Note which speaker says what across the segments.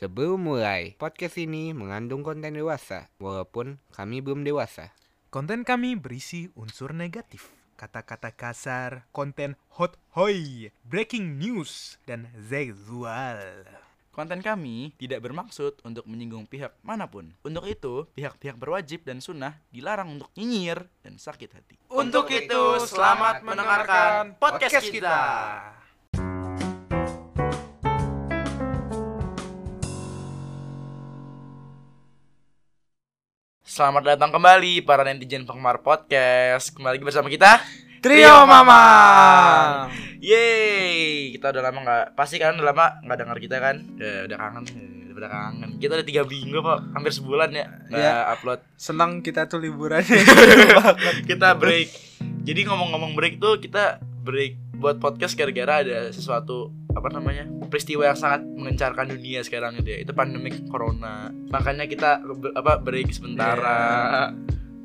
Speaker 1: Sebelum mulai, podcast ini mengandung konten dewasa, walaupun kami belum dewasa.
Speaker 2: Konten kami berisi unsur negatif, kata-kata kasar, konten hot hoi, breaking news, dan seksual.
Speaker 3: Konten kami tidak bermaksud untuk menyinggung pihak manapun. Untuk itu, pihak-pihak berwajib dan sunnah dilarang untuk nyinyir dan sakit hati.
Speaker 1: Untuk itu, selamat mendengarkan podcast kita.
Speaker 3: Selamat datang kembali para netizen penggemar podcast. Kembali lagi bersama kita.
Speaker 2: Trio Mama.
Speaker 3: Yeay, kita udah lama nggak, pasti kalian udah lama nggak dengar kita kan? Udah, udah kangen, udah pada kangen. Kita udah tiga minggu kok, hampir sebulan ya nggak
Speaker 2: Iya.
Speaker 3: upload.
Speaker 2: Senang kita tuh liburan.
Speaker 3: kita break. Jadi ngomong-ngomong break tuh kita break buat podcast gara-gara ada sesuatu apa namanya peristiwa yang sangat mengencarkan dunia sekarang gitu ya itu pandemi corona makanya kita be- apa break sementara
Speaker 2: Iya.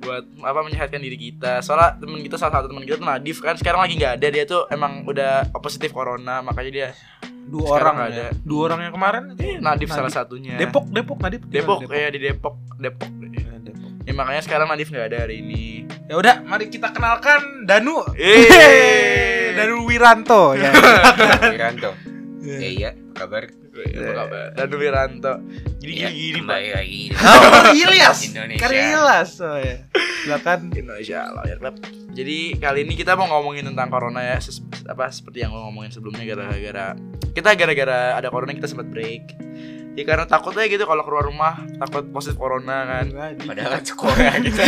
Speaker 3: buat apa menyehatkan diri kita soalnya temen kita salah satu temen kita tuh Nadif kan sekarang lagi nggak ada dia tuh emang udah positif corona makanya dia
Speaker 2: Dua
Speaker 3: Sekarang
Speaker 2: orang
Speaker 3: nggak
Speaker 2: ada.
Speaker 3: ada.
Speaker 2: Dua orang yang kemarin.
Speaker 1: Iya,
Speaker 3: Nadif, salah satunya
Speaker 2: Depok, Iya, Depok, Nadif.
Speaker 3: Depok, ya di Depok Depok
Speaker 2: Ya, Depok.
Speaker 3: ya makanya sekarang Nadif nggak ada hari ini
Speaker 2: Ya udah, mari kita kenalkan Danu.
Speaker 3: Yeay.
Speaker 2: Danu Wiranto ya.
Speaker 3: Iya,
Speaker 1: Wiranto, ya iya, apa kabar?
Speaker 3: apa kabar Danu Wiranto jadi
Speaker 1: Iya,
Speaker 3: gini pak
Speaker 1: kembali lagi.
Speaker 2: Oh, Ilyas.
Speaker 1: Indonesia.
Speaker 2: Karya Ilyas. Oh, ya. Silakan.
Speaker 3: Indonesia Lawyer Club. Jadi kali ini kita mau ngomongin tentang corona ya, ses- apa seperti yang lo ngomongin sebelumnya gara-gara kita gara-gara ada corona kita sempat break. Ya karena takut aja gitu kalau keluar rumah takut positif corona kan.
Speaker 1: Padahal kan sekolah kita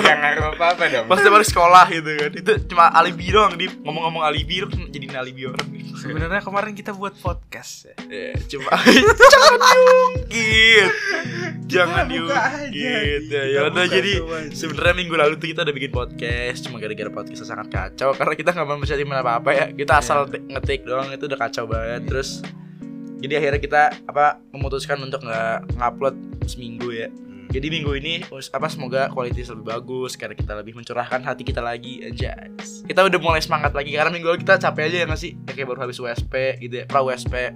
Speaker 1: nggak ngaruh apa-apa dong.
Speaker 3: Pasti baru sekolah gitu kan. Itu cuma alibi doang di ngomong-ngomong alibi lu jadi alibi orang.
Speaker 2: Sebenarnya kemarin kita buat podcast ya.
Speaker 3: Ya, cuma jangan diungkit. Jangan diungkit. Ya, ya udah jadi Sebenarnya minggu lalu tuh kita udah bikin podcast, cuma gara-gara podcastnya sangat kacau karena kita nggak mempersiapkan apa-apa ya. Kita asal te- ngetik doang itu udah kacau banget. Terus jadi akhirnya kita apa memutuskan untuk nggak ngupload seminggu ya. Jadi minggu ini us- apa semoga kualitas lebih bagus karena kita lebih mencurahkan hati kita lagi aja. Kita udah mulai semangat lagi karena minggu lalu kita capek aja ya nggak sih? Ya, kayak baru habis USP gitu ya, pra USP.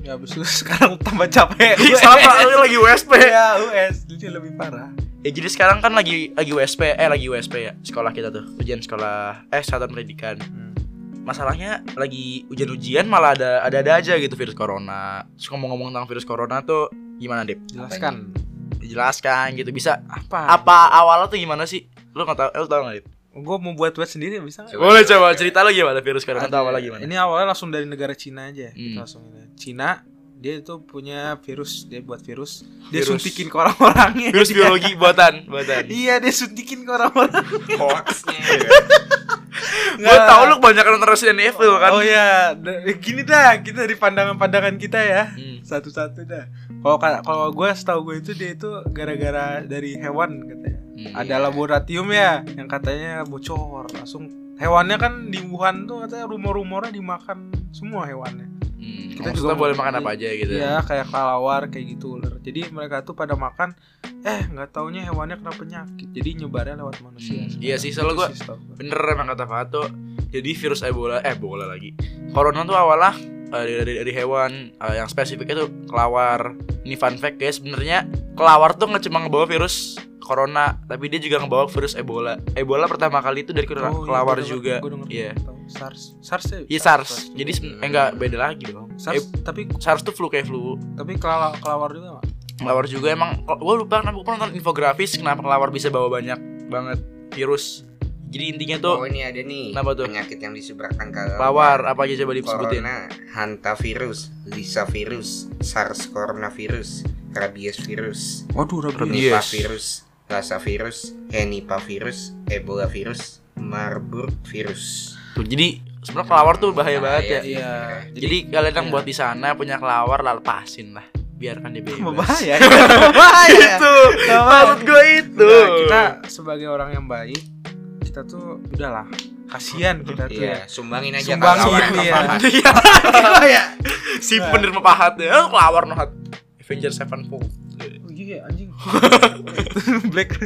Speaker 2: Ya abis lu sekarang tambah capek.
Speaker 3: Ih, Iya, Sama lu lagi USP.
Speaker 2: Ya US jadi lebih parah.
Speaker 3: Ya jadi sekarang kan lagi lagi USP eh lagi USP ya sekolah kita tuh ujian sekolah eh satuan pendidikan masalahnya lagi ujian-ujian malah ada ada ada aja gitu virus corona terus ngomong-ngomong tentang virus corona tuh gimana deh
Speaker 2: Jelaskan.
Speaker 3: dijelaskan gitu bisa
Speaker 2: Apa?
Speaker 3: apa awalnya tuh gimana sih lu nggak tahu eh, lu tahu nggak Dip?
Speaker 2: Gue mau buat buat sendiri bisa nggak?
Speaker 1: Coba,
Speaker 3: boleh
Speaker 1: coba.
Speaker 3: coba cerita lu gimana virus corona tuh awalnya gimana
Speaker 2: Ini awalnya langsung dari negara Cina aja. Kita
Speaker 3: Hmm.
Speaker 2: langsung ini. Cina dia itu punya virus dia buat virus dia
Speaker 3: Virus.
Speaker 2: suntikin ke orang-orangnya
Speaker 3: virus biologi buatan buatan
Speaker 2: iya dia suntikin ke orang-orang
Speaker 1: Hoaxnya.
Speaker 3: gua tau lu kebanyakan nonton Resident Evil kan
Speaker 2: Nah. oh ya gini dah kita dari pandangan-pandangan kita ya
Speaker 3: Hmm.
Speaker 2: satu-satu dah. Kalau ka- kalau gue setahu gue itu dia itu gara-gara dari hewan katanya.
Speaker 3: Hmm.
Speaker 2: Ada laboratorium ya yang katanya bocor langsung hewannya kan di Wuhan tuh katanya rumor-rumornya dimakan semua hewannya.
Speaker 3: Hmm.
Speaker 2: Kita
Speaker 3: kita
Speaker 2: juga
Speaker 3: juga boleh
Speaker 2: mau-
Speaker 3: makan apa aja gitu
Speaker 2: Iya kayak kelawar kayak gitu ular. Jadi mereka tuh pada makan eh nggak taunya hewannya kena penyakit. Jadi nyebarnya lewat manusia.
Speaker 3: Hmm,
Speaker 2: sebenarnya.
Speaker 3: iya sih, soalnya
Speaker 2: Itu
Speaker 3: gua-
Speaker 2: sih setahu gua.
Speaker 3: Bener emang kata Fato Jadi virus Ebola Eh Ebola lagi Corona tuh awalnya eh, dari, dari, dari hewan eh, Yang spesifiknya tuh kelawar Ini fun fact guys sebenarnya Kelawar tuh nggak cuma ngebawa virus Corona Tapi dia juga ngebawa virus Ebola Ebola pertama kali itu dari
Speaker 2: Oh, iya,
Speaker 3: kelawar
Speaker 2: gua denger-
Speaker 3: juga
Speaker 2: gua denger.
Speaker 3: Iya
Speaker 2: Tahu. SARS. SARS ya?
Speaker 3: Iya SARS Jadi seben- eh, enggak beda lagi dong
Speaker 2: SARS,
Speaker 3: Eh,
Speaker 2: tapi
Speaker 3: SARS tuh flu kayak flu
Speaker 2: tapi kelala- kelawar juga nggak?
Speaker 3: Kelawar juga emang Gue lupa kenapa gue nonton infografis Kenapa kelawar bisa bawa banyak banget virus Jadi intinya tuh
Speaker 2: iya.
Speaker 1: Oh ini ada nih.
Speaker 3: Kenapa tuh?
Speaker 1: Penyakit yang disebarkan kalau
Speaker 3: Kelawar apa aja coba disebutin
Speaker 1: Corona, hantavirus, lisavirus, SARS coronavirus, rabies virus,
Speaker 2: Waduh,
Speaker 3: Rabies.
Speaker 1: nipah virus, lassa virus, henipa virus, ebola virus, marburg virus.
Speaker 3: Tuh, jadi sebenarnya kelawar tuh bahaya banget ya.
Speaker 2: Iya.
Speaker 3: Jadi, kalian yang
Speaker 2: iya.
Speaker 3: buat di sana punya kelawar lah lepasin lah, biarkan dia bebas.
Speaker 2: Bahaya. Bahaya.
Speaker 3: itu.
Speaker 2: Nggak mau.
Speaker 3: Iya. Maksud gue itu.
Speaker 2: Nah, kita sebagai orang yang baik, kita tuh udahlah. Kasihan kita tuh. ya.
Speaker 1: Iya, sumbangin aja
Speaker 2: Sumbangin,
Speaker 1: kalau lawan
Speaker 2: iya.
Speaker 1: apa-apa.
Speaker 3: Iya,
Speaker 2: Ya.
Speaker 3: si penerima pahat ya, Oh, kelawar nohat. Avengers Sevenfold
Speaker 1: Oh, iya anjing.
Speaker 3: Black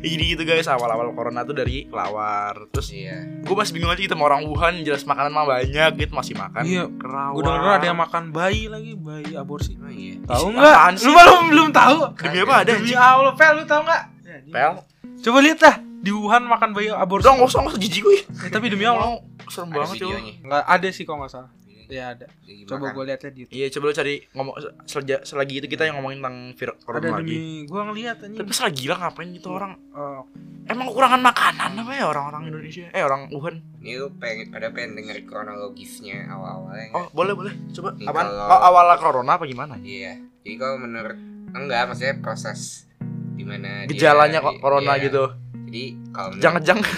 Speaker 3: jadi gitu guys awal-awal corona tuh dari lawar terus
Speaker 1: Iya.
Speaker 3: gue masih bingung aja gitu sama orang Wuhan jelas makanan mah banyak gitu masih makan
Speaker 2: Iya,
Speaker 3: kerawat
Speaker 2: Gue denger ada yang makan bayi lagi, bayi aborsi.
Speaker 1: Oh iya.
Speaker 2: Tahu
Speaker 3: Isi
Speaker 2: nggak?
Speaker 3: Nah, apaan
Speaker 2: Lu
Speaker 3: sih?
Speaker 2: belum belum tahu.
Speaker 3: demi apa ada
Speaker 2: Demi
Speaker 3: anjing? Ya,
Speaker 2: Allah, Pel, lu tahu nggak?
Speaker 3: pel
Speaker 2: Coba lihat lah di Wuhan makan bayi aborsi.
Speaker 3: udah nggak usah nggak usah jijik gue
Speaker 2: Ya, tapi demi
Speaker 3: demi
Speaker 2: Allah,
Speaker 3: Allah serem
Speaker 1: Ada
Speaker 3: banget ya
Speaker 1: videonya.
Speaker 2: nggak ada sih kalau nggak salah.
Speaker 1: Videonya
Speaker 2: Ya ada.
Speaker 1: lagi
Speaker 2: Coba
Speaker 1: makan.
Speaker 2: gue lihat di YouTube.
Speaker 3: Iya coba lu cari ngomong selagi, selagi itu kita yang ngomongin tentang virus corona
Speaker 2: Ada
Speaker 3: lagi.
Speaker 2: demi gue ngeliat
Speaker 3: Tapi
Speaker 2: anjing.
Speaker 3: masalah gila ngapain gitu orang?
Speaker 2: Oh,
Speaker 3: Emang kekurangan makanan apa ya orang-orang Indonesia? Eh orang Wuhan.
Speaker 1: Ini lu pengen ada pengen denger kronologisnya awal-awalnya nggak?
Speaker 3: Oh boleh boleh. Coba
Speaker 1: Nih,
Speaker 3: apaan?
Speaker 1: kalau-
Speaker 3: Oh, awal corona apa gimana?
Speaker 1: Iya. Jadi kalau menurut enggak maksudnya proses dimana iya.
Speaker 3: Gejalanya kok corona gitu.
Speaker 1: Jadi kalau menurut,
Speaker 3: Jangan jangan.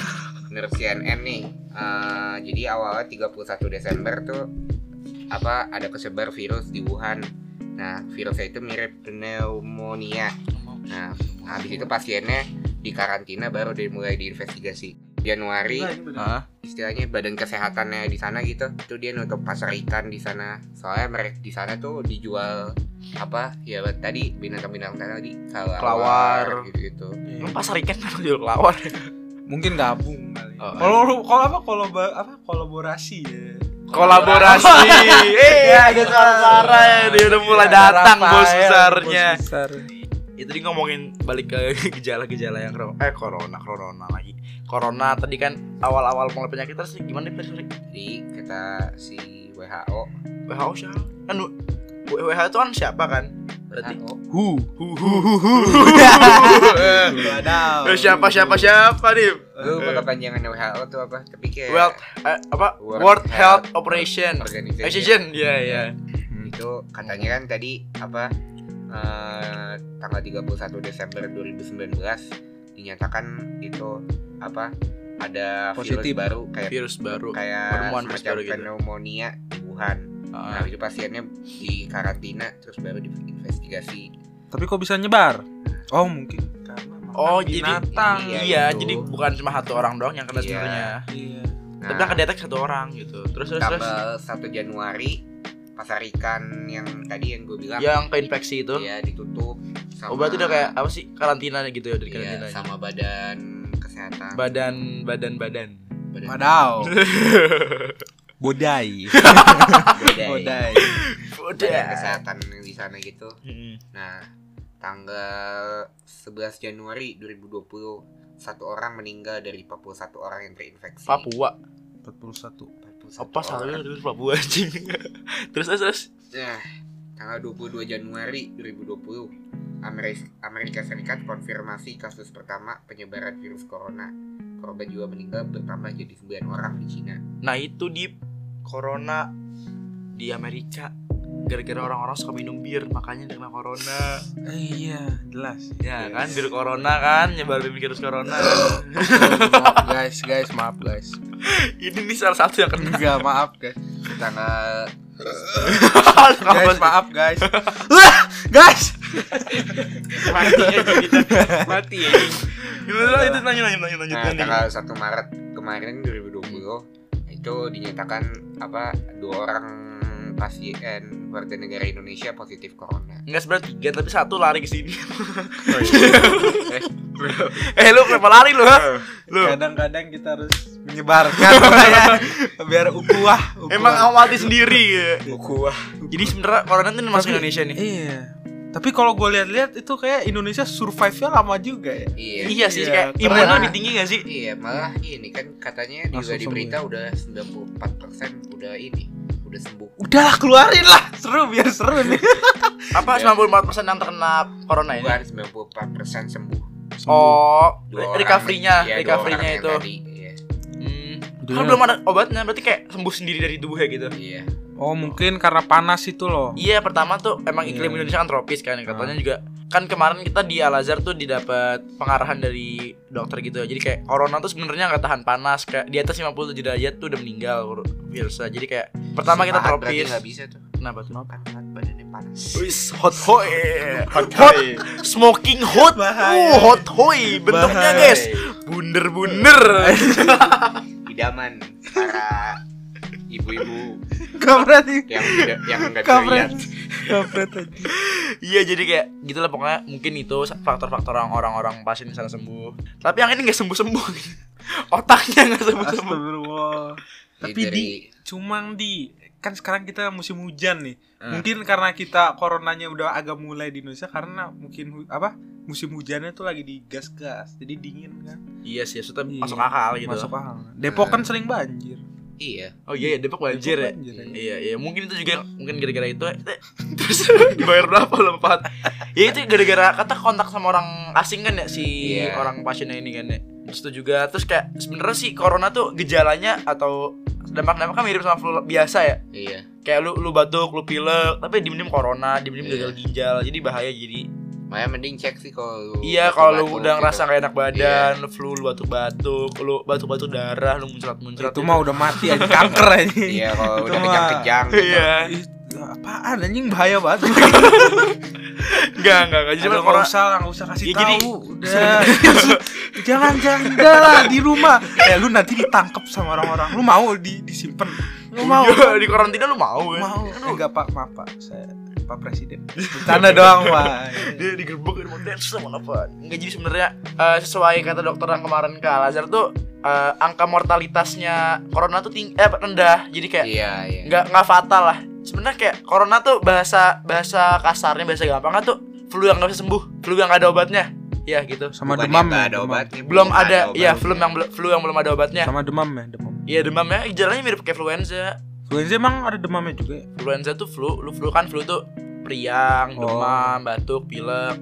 Speaker 1: menurut CNN nih, eh, jadi awalnya 31 Desember tuh apa ada kesebar virus di Wuhan. Nah, virusnya itu mirip pneumonia. Nah, habis itu pasiennya dikarantina baru dimulai diinvestigasi. Januari
Speaker 2: enggak, ini bener.
Speaker 3: Hah?
Speaker 1: istilahnya badan kesehatannya di sana gitu itu dia nutup pasar ikan di sana soalnya mereka di sana tuh dijual apa ya tadi binatang-binatang tadi
Speaker 3: Kelawar.
Speaker 1: kelawar gitu gitu
Speaker 2: Iya.
Speaker 3: Emang pasar ikan kan jual kelawar.
Speaker 2: Mungkin gabung kali. ya.
Speaker 3: Oh,
Speaker 2: Kalau kalau apa kalau apa kolaborasi ya.
Speaker 3: Kolaborasi. Eh
Speaker 2: Ya, ada suara-suara
Speaker 3: ya, dia udah mulai datang Kan Iya, bos
Speaker 2: Rafael,
Speaker 3: besarnya.
Speaker 2: bos besar.
Speaker 3: Itu tadi ngomongin balik ke gejala-gejala yang corona. eh corona corona lagi. Corona tadi kan awal-awal mulai penyakit terus gimana nih sorry?
Speaker 1: jadi kita si WHO
Speaker 3: WHO siapa? Kan W- WHO itu kan siapa kan? Berarti
Speaker 1: WHO
Speaker 2: Hu.
Speaker 3: hu hu hu hu. Eh,
Speaker 2: Wadaw.
Speaker 3: eh, siapa siapa siapa nih?
Speaker 1: lu kepanjangan WHO tuh apa tapi kayak
Speaker 3: World eh, apa?
Speaker 1: World
Speaker 3: World
Speaker 1: Health
Speaker 3: Health Operation.
Speaker 1: organisasi
Speaker 3: Operation. Iya iya.
Speaker 1: itu katanya kan tadi apa eh, tanggal 31 Desember 2019 dinyatakan itu apa ada
Speaker 2: Positif.
Speaker 1: virus baru kayak
Speaker 3: Virus baru.
Speaker 1: kayak
Speaker 3: Penemuan virus
Speaker 1: semacam
Speaker 3: baru gitu.
Speaker 1: pneumonia di Wuhan. Nah,
Speaker 3: Ah,
Speaker 1: habis itu pasiennya di karantina terus baru diinvestigasi.
Speaker 2: Tapi kok bisa nyebar? Oh, mungkin karena makan
Speaker 3: Oh, jadi-
Speaker 2: binatang.
Speaker 1: iya,
Speaker 3: Iya,
Speaker 1: gitu.
Speaker 3: jadi bukan cuma satu orang doang yang kena
Speaker 1: Iya.
Speaker 3: sebenarnya.
Speaker 2: Iya.
Speaker 1: Nah,
Speaker 3: Tapi yang kedetek satu orang gitu. Terus terus terus
Speaker 1: tanggal 1 Januari pasar ikan yang tadi yang gue bilang
Speaker 3: yang keinfeksi itu.
Speaker 1: ya ditutup sama
Speaker 3: Iya, Oh, berarti udah kayak apa sih? Karantina gitu ya, dari
Speaker 1: iya,
Speaker 3: karantina.
Speaker 1: sama badan kesehatan.
Speaker 3: Badan badan badan.
Speaker 1: badan
Speaker 2: Wadaw.
Speaker 1: Bodai.
Speaker 2: Bodai. Bodai.
Speaker 1: ya. Badan
Speaker 3: Udah. Hmm.
Speaker 1: kesehatan di sana gitu. Nah, tanggal 11 Januari 2020 satu orang meninggal dari 41 orang yang terinfeksi.
Speaker 3: Papua.
Speaker 2: 41.
Speaker 1: 41
Speaker 3: apa
Speaker 1: orang.
Speaker 3: salahnya dari Papua anjing terus terus terus
Speaker 1: Nah, tanggal 22 Januari 2020, Amerika, Amerika Serikat konfirmasi kasus pertama penyebaran virus corona. Korban juga meninggal bertambah jadi 9 orang di Cina.
Speaker 3: nah itu di corona di Amerika gara-gara orang-orang suka minum bir makanya dia kena corona
Speaker 2: Eh, iya, jelas.
Speaker 3: ya
Speaker 1: Yes.
Speaker 3: kan bir corona kan nyebar virus corona
Speaker 2: maaf guys, guys, maaf guys.
Speaker 3: ini nih salah satu yang kena
Speaker 2: Enggak, maaf guys.
Speaker 1: Tanggal
Speaker 2: Guys, maaf guys. Wah, guys.
Speaker 3: mati aja kita mati ya itu nanya nanya nanya
Speaker 2: Iya,
Speaker 3: nanya
Speaker 1: nah, tanggal 1 Maret kemarin 2020 itu dinyatakan apa dua orang pasien warga negara Indonesia positif corona.
Speaker 3: Enggak sebenarnya tiga tapi satu lari ke sini.
Speaker 1: Oh, iya.
Speaker 3: eh lu kenapa lari lu?
Speaker 1: Eh.
Speaker 3: ha? Lu.
Speaker 2: Kadang-kadang kita harus menyebarkan ya, biar ukuah, ukuah.
Speaker 3: Emang kamu mati sendiri ya?
Speaker 1: Ukuah.
Speaker 3: Jadi sebenarnya corona tuh masuk
Speaker 2: Tapi-
Speaker 3: Indonesia nih.
Speaker 2: Iya. Tapi kalau gue lihat-lihat itu kayak Indonesia survive-nya lama juga ya.
Speaker 1: Iya.
Speaker 3: Iya sih
Speaker 2: Iya,
Speaker 3: kayak
Speaker 2: karena-
Speaker 3: imun lo lebih tinggi gak sih?
Speaker 1: Iya, malah ini kan katanya juga
Speaker 2: Langsung
Speaker 1: di
Speaker 2: sembuh ya?
Speaker 1: berita udah 94% udah ini, udah sembuh.
Speaker 2: Udahlah keluarin lah, seru biar seru nih.
Speaker 3: Apa
Speaker 1: Iya.
Speaker 3: 94% yang terkena
Speaker 2: Iya.
Speaker 3: corona ini?
Speaker 1: Bukan 94% sembuh.
Speaker 3: Oh,
Speaker 1: Dua orang-
Speaker 3: recovery-nya,
Speaker 1: iya, dua
Speaker 3: recovery-nya
Speaker 1: orang yang
Speaker 3: itu.
Speaker 1: tadi, Iya.
Speaker 3: Hmm.
Speaker 2: Udah.
Speaker 3: Kan belum ada obatnya, berarti kayak sembuh sendiri dari tubuhnya gitu.
Speaker 1: Iya.
Speaker 2: Oh mungkin karena panas itu loh.
Speaker 3: Iya, pertama tuh emang iklim
Speaker 2: Iya.
Speaker 3: Indonesia kan tropis
Speaker 1: Ah.
Speaker 3: kan, katanya juga kan kemarin kita di Al Azhar tuh didapat pengarahan dari dokter gitu. Jadi kayak corona tuh sebenarnya nggak tahan panas, kayak di atas 57 derajat tuh udah meninggal virusnya. Jadi kayak pertama kita
Speaker 1: Sehat berarti
Speaker 3: tropis.
Speaker 1: nggak bisa tuh.
Speaker 3: Kenapa tuh?
Speaker 1: Panas badannya panas.
Speaker 3: Wis hot hoi. Hot Smoking hot.
Speaker 2: Bahaya.
Speaker 3: Uh, hot hoi bentuknya
Speaker 2: Bahaya.
Speaker 3: guys. Bunder-bunder.
Speaker 1: Idaman para ibu-ibu
Speaker 2: Kampret nih.
Speaker 1: yang tidak yang enggak
Speaker 2: Kampret.
Speaker 1: dilihat.
Speaker 2: Kampret aja.
Speaker 3: Iya jadi kayak gitu lah pokoknya mungkin itu faktor-faktor yang orang-orang pasien misalnya sembuh Tapi yang ini gak sembuh-sembuh Otaknya gak sembuh-sembuh
Speaker 2: Astagfirullah. Tapi
Speaker 1: Jadi
Speaker 2: di cuman di kan sekarang kita musim hujan nih. Mungkin karena kita coronanya udah agak mulai di Indonesia karena mungkin hu- apa musim hujannya tuh lagi digas-gas. Jadi dingin kan.
Speaker 3: Iya sih maksudnya
Speaker 2: Iya.
Speaker 3: masuk akal gitu
Speaker 2: Masuk paham. Depok kan sering banjir.
Speaker 1: iya
Speaker 3: Oh iya ya Depok banjir
Speaker 2: Depok
Speaker 3: ya
Speaker 2: banjir, ya.
Speaker 3: Iya iya mungkin itu juga mungkin gara-gara itu eh, terus dibayar berapa lompat? Ya itu gara-gara kata kontak sama orang asing kan ya si
Speaker 1: Iya.
Speaker 3: orang pasiennya ini kan ya. Terus itu juga terus kayak sebenarnya sih corona tuh gejalanya atau dampak-dampaknya mirip sama flu biasa ya.
Speaker 1: iya
Speaker 3: Kayak lu lu batuk, lu pilek, tapi diem-diem corona, diem-diem
Speaker 1: Iya.
Speaker 3: gagal ginjal. Jadi bahaya jadi.
Speaker 1: makanya mending cek sih kalau lu
Speaker 3: Iya kalau lu
Speaker 1: batuk-batuk
Speaker 3: udah
Speaker 1: gitu.
Speaker 3: ngerasa gak enak badan,
Speaker 2: Iya.
Speaker 3: lu flu, lu batuk-batuk, lu batuk-batuk darah, lu muncrat-muncrat. ya.
Speaker 2: Itu mah udah mati aja kanker aja.
Speaker 1: iya kalau
Speaker 2: Itu
Speaker 1: udah
Speaker 2: mah-
Speaker 1: kejang-kejang gitu
Speaker 3: Iya.
Speaker 2: Ih, Apaan anjing bahaya banget.
Speaker 3: Enggak, enggak, enggak. Jadi
Speaker 2: Jadi
Speaker 3: corona-
Speaker 2: nggak usah, nggak usah kasih
Speaker 3: Iya, Ya,
Speaker 2: tahu.
Speaker 3: jadi-
Speaker 2: udah. jangan jangan udah lah di rumah. Eh lu nanti ditangkap sama orang-orang. Lu mau di, disimpan? Lu mau?
Speaker 3: Iya, di karantina lu mau kan?
Speaker 2: mau? Eh, Enggak Pak, maaf Pak. Saya Pak Presiden. Bercanda doang, Pak.
Speaker 3: Dia digerbek dia mau dance sama apa? Enggak jadi sebenarnya eh, sesuai kata dokter yang kemarin ke Al Azhar tuh eh, angka mortalitasnya corona tuh ting eh rendah. Jadi kayak
Speaker 1: iya iya
Speaker 3: enggak enggak fatal lah. Sebenarnya kayak corona tuh bahasa bahasa kasarnya bahasa gampangnya tuh flu yang nggak bisa sembuh, flu yang nggak ada obatnya. Ya gitu.
Speaker 2: Sama
Speaker 1: Bukannya
Speaker 2: demam
Speaker 1: nggak
Speaker 2: ya,
Speaker 1: ada
Speaker 2: demam.
Speaker 1: obatnya
Speaker 3: Belum ada, ya
Speaker 1: obatnya.
Speaker 3: flu yang bel- flu yang belum ada obatnya.
Speaker 2: Sama demam ya, demam.
Speaker 3: Iya demamnya gejalanya mirip kayak influenza.
Speaker 2: Influenza emang ada demamnya juga ya?
Speaker 3: Influenza tuh flu, lu flu kan flu tuh priang,
Speaker 2: Oh.
Speaker 3: demam, batuk, pilek.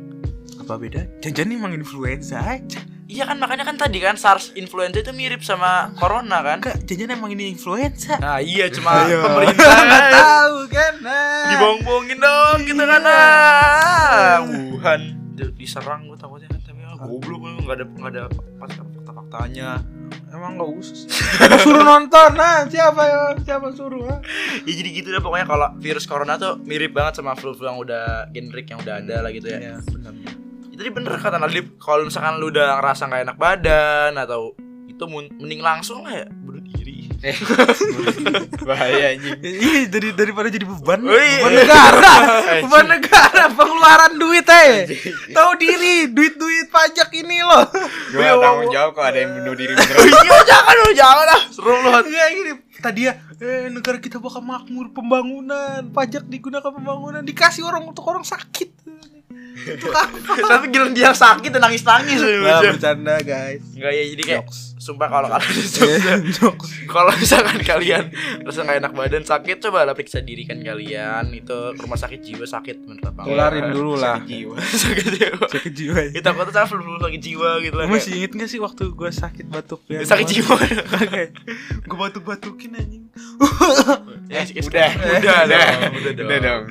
Speaker 2: Apa beda? Jangan emang influenza eh. aja.
Speaker 3: Iya kan makanya kan tadi kan SARS influenza itu mirip sama corona kan?
Speaker 2: Enggak, jangan emang ini influenza.
Speaker 3: Nah iya cuma
Speaker 2: Ayo.
Speaker 3: pemerintah
Speaker 2: Nggak
Speaker 3: kan
Speaker 2: tahu kan. Nah.
Speaker 3: dibohong-bohongin dong gitu kan
Speaker 2: Iya.
Speaker 3: ah. Wuhan Di- diserang gue takutnya kan tapi ah, goblok gue nggak ada nggak ada pas fakta-faktanya.
Speaker 2: Emang gak usus Suruh nonton nah Siapa ya Siapa suruh ah?
Speaker 3: Ya jadi gitu deh pokoknya kalau virus corona tuh mirip banget sama flu-flu yang udah generik yang udah ada lah gitu ya.
Speaker 2: Iya benar.
Speaker 3: Ya, Tadi bener kata Nadif kalau misalkan lu udah ngerasa nggak enak badan atau itu mun- mending langsung lah ya bunuh diri. Eh, Bahaya anjing.
Speaker 2: Iya dari daripada jadi beban
Speaker 3: Wih.
Speaker 2: Beban negara
Speaker 3: Anjing.
Speaker 2: Beban negara Pengeluaran duit eh Tahu diri Duit-duit pajak ini loh
Speaker 1: gue tanggung jawab kalau ada yang bunuh diri beneran.
Speaker 3: Iya jangan lu jangan lah seru lu.
Speaker 2: Enggak gini Iya, Tadi ya eh, Negara kita bakal makmur Pembangunan Pajak digunakan pembangunan Dikasih orang untuk orang sakit Untuk apa
Speaker 3: Tapi gila dia yang sakit dan nangis nangis
Speaker 2: Nah,
Speaker 3: aja.
Speaker 2: bercanda guys
Speaker 3: Enggak ya jadi kayak
Speaker 2: Jokes
Speaker 3: sumpah kalau kalian
Speaker 2: Eh, Jokes
Speaker 3: kalau misalkan kalian rasa nggak enak badan sakit coba lah periksa diri kan kalian itu ke rumah sakit jiwa sakit bener apa enggak.
Speaker 2: Tularin dulu lah
Speaker 1: jiwa
Speaker 3: sakit jiwa.
Speaker 2: Sakit jiwa ya.
Speaker 3: Kita takutnya sama flu flu sakit jiwa gitu lah.
Speaker 2: Lu
Speaker 3: kayak.
Speaker 2: masih inget gak sih waktu gue sakit batuk ya?
Speaker 3: Sakit jiwa.
Speaker 2: gue batuk-batukin anjing.
Speaker 3: Ya,
Speaker 1: Eh,
Speaker 3: sikit-
Speaker 1: udah.
Speaker 3: udah, udah, udah,
Speaker 2: Iya.
Speaker 1: udah
Speaker 3: dong.
Speaker 1: dong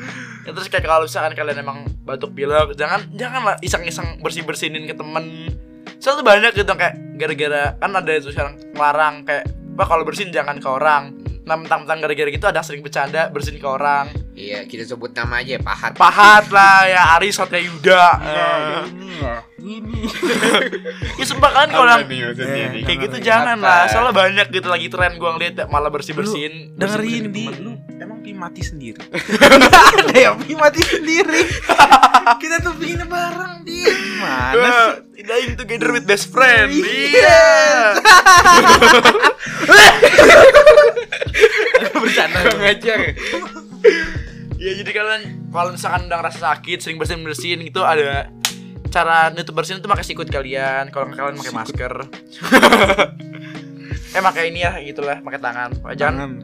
Speaker 3: Ya, terus kayak kalau misalkan kalian emang batuk pilek, jangan jangan lah iseng-iseng bersih-bersinin ke temen. Soalnya tuh banyak gitu kayak gara-gara kan ada itu sekarang ngelarang kayak apa kalau bersin jangan ke orang. Nah, mentang-mentang gara-gara gitu ada yang sering bercanda bersin ke orang.
Speaker 1: iya kita sebut nama aja ya, pahat
Speaker 3: Pahat lah ya Aris Satya Yuda. Eh,
Speaker 2: ini ya. Ini.
Speaker 3: ya sumpah kan kalau yang
Speaker 2: Eh,
Speaker 3: kayak gitu
Speaker 2: Kenapa?
Speaker 3: jangan lah. Soalnya banyak gitu lagi tren gua ngeliat ya, malah bersih-bersihin.
Speaker 2: Dengerin
Speaker 3: bersin-bersin
Speaker 2: di
Speaker 3: temen.
Speaker 2: lu emang pi mati sendiri. Nggak ada yang pi mati sendiri. Kita tuh pingin bareng di. Gimana sih?
Speaker 3: Nah, dying together with best friend.
Speaker 2: Iya.
Speaker 3: Iya.
Speaker 1: bercanda ngajar
Speaker 3: Iya jadi kalian kalau misalkan udah ngerasa sakit sering bersin bersihin gitu ada cara nutup bersin itu pakai sikut kalian kalau nggak kalian pakai masker eh pakai ini ya gitulah pakai tangan jangan
Speaker 2: Tangan.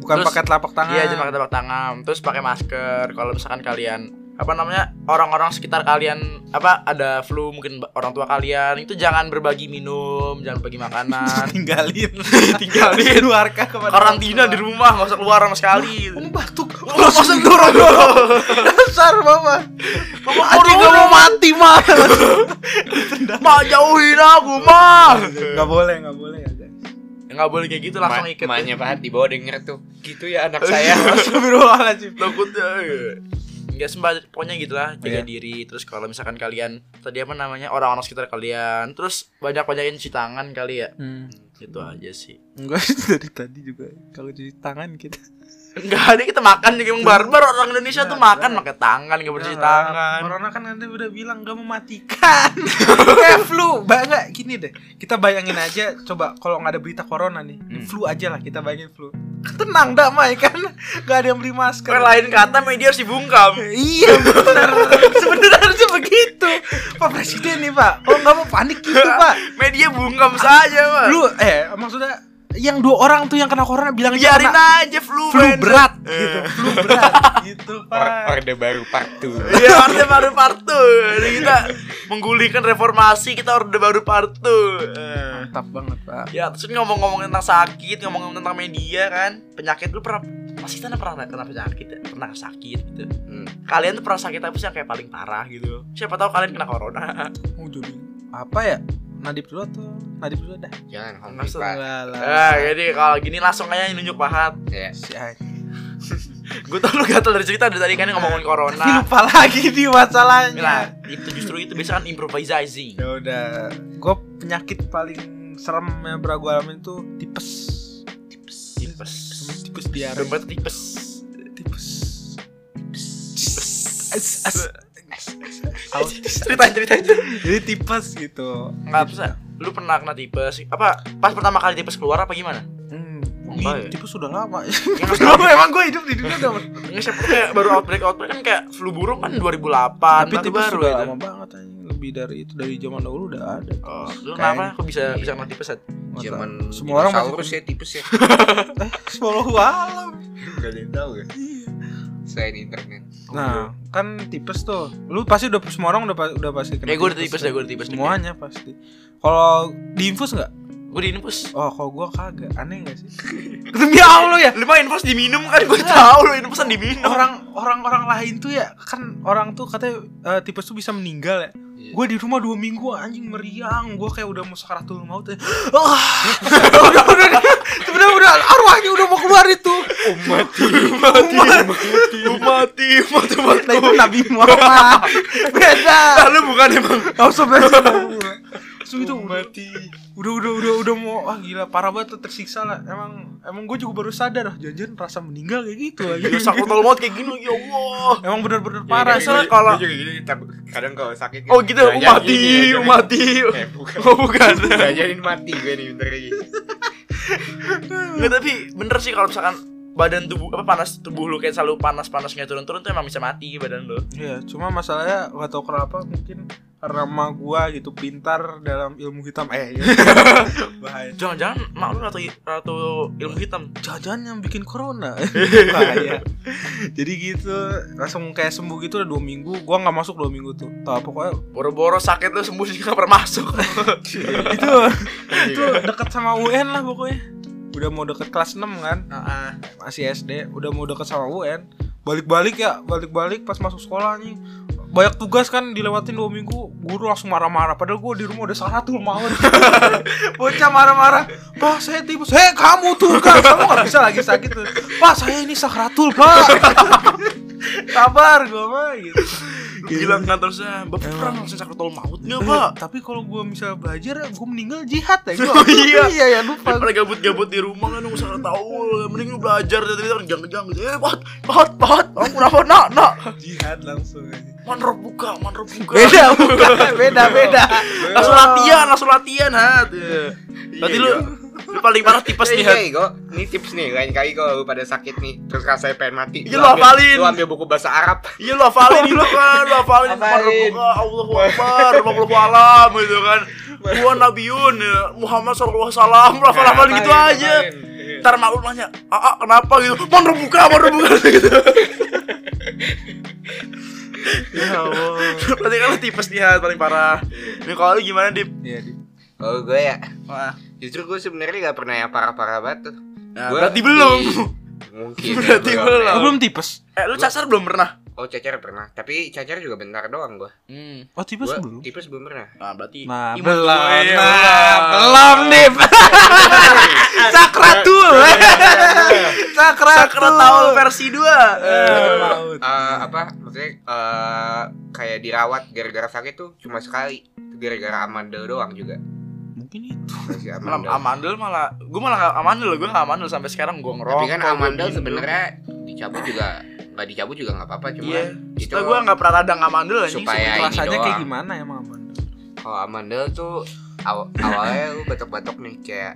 Speaker 2: Bukan
Speaker 3: Terus-
Speaker 2: pakai telapak tangan.
Speaker 3: iya jangan pakai telapak tangan terus pakai masker kalau misalkan kalian apa namanya orang-orang sekitar kalian apa ada flu mungkin ba- orang tua kalian itu jangan berbagi minum jangan berbagi makanan
Speaker 2: tinggalin.
Speaker 3: Tinggalin.
Speaker 2: keluarkan kepada
Speaker 3: karantina
Speaker 2: orang
Speaker 3: di
Speaker 2: tua.
Speaker 3: Oh, rumah nggak usah keluar sama sekali
Speaker 2: Kamu batuk.
Speaker 3: Nggak usah dorong
Speaker 2: Dasar mama.
Speaker 3: Mama,
Speaker 2: Anjing
Speaker 3: aduh,
Speaker 2: kamu mati mah.
Speaker 3: Mak jauhin aku mak
Speaker 2: Gak boleh, gak boleh ya guys.
Speaker 3: Ya, nggak boleh kayak gitu langsung ikat
Speaker 1: Maknya pahat di bawah denger tuh Gitu ya anak saya
Speaker 2: Astagfirullahaladzim.
Speaker 3: takutnya nggak sembah pokoknya gitulah
Speaker 2: Iya.
Speaker 3: jaga diri terus kalau misalkan kalian tadi apa namanya orang-orang sekitar kalian terus banyak banyakin cuci tangan kali ya
Speaker 2: Hmm.
Speaker 3: gitu aja sih
Speaker 2: Enggak dari tadi juga kalau cuci tangan kita
Speaker 3: Enggak ada kita makan juga emang barbar orang Indonesia tuh
Speaker 2: Nah,
Speaker 3: makan
Speaker 2: nah.
Speaker 3: pakai tangan gak bersih
Speaker 2: Nah,
Speaker 3: tangan.
Speaker 2: Corona kan anda udah bilang gak mematikan Kayak flu Bangga gini deh Kita bayangin aja Coba kalau nggak ada berita corona nih
Speaker 3: Hmm.
Speaker 2: Flu aja lah kita bayangin flu Tenang damai kan Gak ada yang beli masker
Speaker 3: Kan lain kata media harus dibungkam.
Speaker 2: Iya bener Sebenernya harusnya begitu Pak Presiden nih pak Kalau nggak mau panik gitu pak
Speaker 3: Media bungkam saja, Pak.
Speaker 2: Lu eh maksudnya Yang dua orang tuh yang kena corona bilang aja
Speaker 3: biarin
Speaker 2: kena
Speaker 3: aja flu,
Speaker 2: Flu
Speaker 3: men.
Speaker 2: berat
Speaker 3: Eh.
Speaker 2: gitu Flu berat gitu
Speaker 1: Or-
Speaker 2: pak
Speaker 1: Orde baru part 2
Speaker 3: Iya, orde baru partu. Kita menggulingkan reformasi, kita orde baru partu. Eh.
Speaker 2: Mantap banget pak
Speaker 3: Ya, terus ngomong-ngomong tentang sakit, ngomong tentang media kan, penyakit lu pernah pasti kan pernah kena penyakit ya, pernah sakit gitu.
Speaker 1: hmm.
Speaker 3: Kalian tuh pernah sakit apa sih yang kayak paling parah gitu? Siapa tahu kalian kena corona.
Speaker 2: Mau jadi apa ya? Nadib dulu atau Nadib dulu dah.
Speaker 1: Jangan Hong
Speaker 3: Maksud
Speaker 1: Pipa
Speaker 3: Nah, jadi kalau gini langsung aja nunjuk pahat.
Speaker 1: ya.
Speaker 2: Si Aik.
Speaker 3: Gue tau lu gatel dari cerita dari tadi kan ngomongin corona.
Speaker 2: Tapi lupa lagi di masalahnya.
Speaker 3: Nah, itu justru itu biasa kan improvisasi.
Speaker 2: Ya udah, gue penyakit paling serem yang pernah gue alamin tuh tipes. Tipes.
Speaker 3: Tipes.
Speaker 2: Tipes diare.
Speaker 3: Dompet tipes.
Speaker 2: Tipes.
Speaker 3: Tipes.
Speaker 2: As, as. Out.
Speaker 3: Ceritain ceritain.
Speaker 2: Jadi tipes gitu.
Speaker 3: Enggak bisa. Lu pernah kena tipes? Apa pas pertama kali tipes keluar apa gimana?
Speaker 2: Hmm,
Speaker 3: Apa ya?
Speaker 2: ini tipes sudah lama.
Speaker 3: Yang
Speaker 2: Belum emang gue hidup di dunia udah.
Speaker 3: Ini siapa kayak baru outbreak outbreak kan kayak flu burung kan 2008
Speaker 2: Tapi
Speaker 3: nanti
Speaker 2: tipes sudah
Speaker 3: itu.
Speaker 2: lama banget anjing. Lebih dari itu dari zaman dahulu udah ada.
Speaker 3: Oh, lu
Speaker 1: Kayaknya.
Speaker 3: kenapa kok bisa bisa kena tipes? Sat?
Speaker 2: Nggak tahu.
Speaker 1: Zaman
Speaker 2: Semua orang masih
Speaker 1: dinosaurus ya tipes ya
Speaker 2: Semua alam.
Speaker 1: Gak ada yang tau ya Selain internet
Speaker 3: Oh, iya.
Speaker 2: Nah, kan tipes tuh. Lu pasti udah semua orang udah pa- udah pasti kena.
Speaker 3: Ya gue udah tipes deh, gue udah tipes.
Speaker 2: Semuanya pasti. Kalau diinfus nggak?
Speaker 3: Gue diinfus.
Speaker 2: Oh, kalau gua kagak. Aneh nggak sih? Demi Allah ya.
Speaker 3: Lu mah infus diminum kan gue tahu lu infusan diminum.
Speaker 2: Orang orang orang lain tuh ya kan orang tuh katanya eh, tipes tuh bisa meninggal ya.
Speaker 1: Iya.
Speaker 2: Gue di rumah dua minggu anjing meriang, gue kayak udah mau sakaratul maut. ya. Ah, udah udah udah, sebenarnya udah arwahnya udah mau keluar itu.
Speaker 3: mati, mati, mati, mati, mati,
Speaker 2: Nah itu Nabi Muhammad. Beda.
Speaker 3: Lalu bukan emang.
Speaker 2: Gak usah belajar Terus itu mati Udah udah udah udah mau Wah gila parah banget tuh, tersiksa lah Emang emang gue juga baru sadar ah, Jangan-jangan rasa meninggal kayak gitu lagi
Speaker 3: Ya sakit tol banget kayak gini, ya Allah.
Speaker 2: Emang bener-bener parah
Speaker 3: iya,
Speaker 2: soalnya
Speaker 3: iya.
Speaker 1: Ya,
Speaker 3: kalau-
Speaker 1: Gua juga gini takut kadang kalau sakit
Speaker 3: Oh gitu,
Speaker 1: Jangan-jangan
Speaker 3: mati,
Speaker 1: ini, jangan-jangan.
Speaker 3: mati.
Speaker 1: Eh bukan
Speaker 3: Oh bukan.
Speaker 1: Jangan mati gue nih bentar lagi
Speaker 3: Nggak tapi bener sih kalau misalkan badan tubuh apa panas tubuh lu kayak selalu panas panas nggak turun turun tuh emang bisa mati badan lu.
Speaker 2: Iya cuma masalahnya gak tau kenapa mungkin Karena emak gue gitu pintar dalam ilmu hitam Eh iya. Bahaya
Speaker 3: Jangan-jangan mak lu ratu ratu ilmu hitam.
Speaker 2: Jangan-jangan yang bikin corona Bahaya Jadi gitu Langsung kayak sembuh gitu udah dua minggu Gue gak masuk dua minggu tuh Tau pokoknya
Speaker 3: Boro-boro sakit lu sembuh sih nggak pernah masuk.
Speaker 2: Itu itu deket sama UN lah pokoknya udah mau deket kelas 6 kan masih SD udah mau deket sama UN balik-balik ya balik-balik pas masuk sekolah nih banyak tugas kan dilewatin dua minggu guru langsung marah-marah padahal gue di rumah udah salah tuh mau bocah marah-marah pak saya tipes hei kamu tuh kan kamu nggak bisa lagi sakit tuh pak saya ini sakratul pak sabar gue mah gitu
Speaker 3: Bilang kantornya, bapak
Speaker 2: Emang.
Speaker 3: perang eh, langsung sakit tol maut nggak
Speaker 2: Eh,
Speaker 3: pak?
Speaker 2: tapi kalau gue misalnya belajar gue meninggal jihad ya gua.
Speaker 3: Oh, iya.
Speaker 2: iya ya lupa
Speaker 3: Daripada gabut-gabut di rumah kan lu usah tahu, mending lu belajar dari tadi jangan-jangan gitu. Eh, pat, pat, pat. Aku kenapa nak, nak?
Speaker 2: jihad langsung aja
Speaker 3: Manrop buka, manrop buka.
Speaker 2: beda bukan beda beda
Speaker 3: Langsung latihan, langsung latihan, hat. Berarti lu lu paling parah tipes
Speaker 1: Pas
Speaker 3: nih,
Speaker 1: nih
Speaker 3: hat.
Speaker 1: kok, Eh, ini tips nih lain kali kalau lu pada sakit nih terus rasanya pengen mati.
Speaker 3: Iya, lu
Speaker 1: ambil-
Speaker 3: hafalin.
Speaker 1: Lu ambil buku bahasa Arab.
Speaker 3: Iya lu hafalin dulu kan, lu hafalin
Speaker 1: Hafalin.
Speaker 3: Manrop buka, Allahu Akbar, Allahu alam gitu kan. Gua nabiun, ya, Muhammad sallallahu alaihi wasallam, lu hafal-hafalin gitu
Speaker 1: Hafalin,
Speaker 3: aja.
Speaker 1: Nah, hafalin. Iya.
Speaker 3: Ntar mak lu nanya, "Ah, ah, kenapa gitu? Manrop buka, manrop buka." gitu.
Speaker 2: ya Allah
Speaker 3: Berarti kan lu tipes nih, hat paling parah. Ini kalau lu gimana, Dip?
Speaker 2: Iya, Di.
Speaker 1: Oh gue ya,
Speaker 3: Wah.
Speaker 1: justru gue sebenarnya gak pernah yang parah-parah banget tuh.
Speaker 3: Nah,
Speaker 1: Gua
Speaker 3: berarti
Speaker 1: di-
Speaker 3: belum.
Speaker 1: Mungkin.
Speaker 3: Berarti
Speaker 1: ya,
Speaker 3: belum.
Speaker 2: Lu
Speaker 1: ya.
Speaker 2: belum tipes
Speaker 3: Eh, lu cacar belum pernah?
Speaker 1: Oh cacar pernah, tapi cacar juga bentar doang gue.
Speaker 3: Hmm.
Speaker 2: oh tipes
Speaker 1: Gue
Speaker 2: belum
Speaker 1: tipes belum pernah. eh,
Speaker 3: Nah, berarti
Speaker 2: nah
Speaker 3: imun
Speaker 2: belum
Speaker 3: tuh, iya,
Speaker 2: nah belum nih sakratul sakratul
Speaker 3: Sakra Taul
Speaker 2: Eh,
Speaker 3: versi Eh,
Speaker 2: iya,
Speaker 3: 2
Speaker 1: Eh, apa maksudnya eh, kayak dirawat gara-gara sakit tuh cuma sekali Itu gara-gara amandel doang juga
Speaker 3: mungkin itu
Speaker 1: Terus si
Speaker 3: Malah
Speaker 1: Amandel.
Speaker 3: amandel malah gue malah nggak amandel gue nggak amandel sampai sekarang gue ngerokok
Speaker 1: Tapi kan
Speaker 3: gua
Speaker 1: amandel
Speaker 3: minum.
Speaker 1: sebenarnya dicabut juga nggak dicabut juga nggak apa-apa cuma
Speaker 3: Iya.
Speaker 1: itu
Speaker 3: Setelah gue nggak pernah radang amandel anjing
Speaker 1: Supaya- Ya, ini
Speaker 2: rasanya kayak
Speaker 1: doang.
Speaker 2: gimana ya Maman?
Speaker 1: kalau amandel tuh aw- awalnya lu batok-batok nih kayak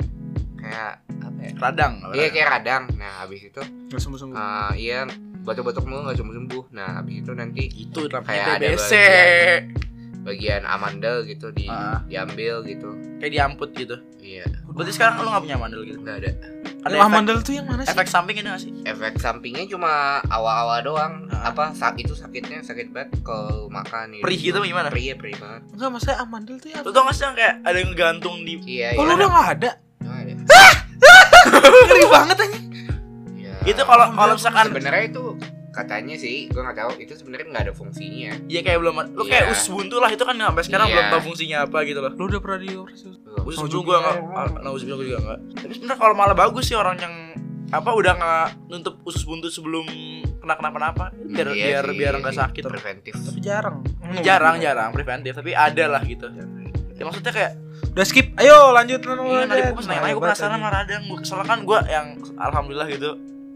Speaker 1: kayak apa ya?
Speaker 3: radang
Speaker 1: Iya kayak radang. Nah habis itu
Speaker 2: Gak sembuh-sembuh.
Speaker 1: eh, iya batok-batok mulu nggak sembuh-sembuh. Nah habis itu nanti
Speaker 3: itu
Speaker 1: Kayak
Speaker 3: namanya
Speaker 1: ada
Speaker 3: BBC
Speaker 1: bagian. bagian amandel gitu di
Speaker 3: Ah.
Speaker 1: diambil gitu.
Speaker 3: kayak diamput gitu
Speaker 1: Iya
Speaker 3: berarti sekarang lu nggak punya amandel gitu
Speaker 1: nggak ada.
Speaker 3: ada
Speaker 2: Yang
Speaker 3: efek,
Speaker 2: amandel tuh yang mana sih?
Speaker 3: efek samping ini nggak sih
Speaker 1: Efek sampingnya cuma awal-awal doang.
Speaker 3: Ah.
Speaker 1: Apa saat itu sakitnya sakit banget kalau makan.
Speaker 3: perih gitu apa gimana
Speaker 1: Perih, ya, perih banget.
Speaker 2: Enggak, maksudnya amandel tuh yang
Speaker 3: lu tau nggak sih yang kayak ada yang gantung di
Speaker 1: Iya,
Speaker 2: Oh,
Speaker 1: iya.
Speaker 2: lu udah gak ada.
Speaker 1: Nggak ada.
Speaker 2: Ngeri banget aja.
Speaker 1: Iya.
Speaker 3: itu kalau kalau misalkan
Speaker 1: sebenarnya itu katanya sih gue nggak tahu itu sebenarnya nggak ada fungsinya
Speaker 3: Iya kayak belum lu kayak
Speaker 1: Iya.
Speaker 3: usbuntu lah itu kan sampai sekarang
Speaker 1: Iya.
Speaker 3: belum tahu fungsinya apa gitu loh.
Speaker 2: Lu udah pernah dioperasi?
Speaker 1: Belum.
Speaker 3: Gue
Speaker 2: Nauzubillah
Speaker 3: sebelum gua enggak
Speaker 2: ya Allah.
Speaker 3: nah usbuntu gua juga enggak. Tapi sebenarnya kalau malah bagus sih orang yang apa udah nggak nutup usus buntu sebelum kena kenapa-napa biar
Speaker 1: Iya
Speaker 3: biar
Speaker 1: sih,
Speaker 3: biar
Speaker 1: iya
Speaker 3: nggak
Speaker 1: sih.
Speaker 3: sakit.
Speaker 1: preventif
Speaker 2: Tapi jarang.
Speaker 3: Jarang jarang preventif tapi ada lah gitu. Ya maksudnya kayak
Speaker 2: Udah skip. Ayo lanjut lu
Speaker 3: ini Iya, tadi gue seneng nanya gue penasaran sama radang gue soalnya kan gue yang alhamdulillah gitu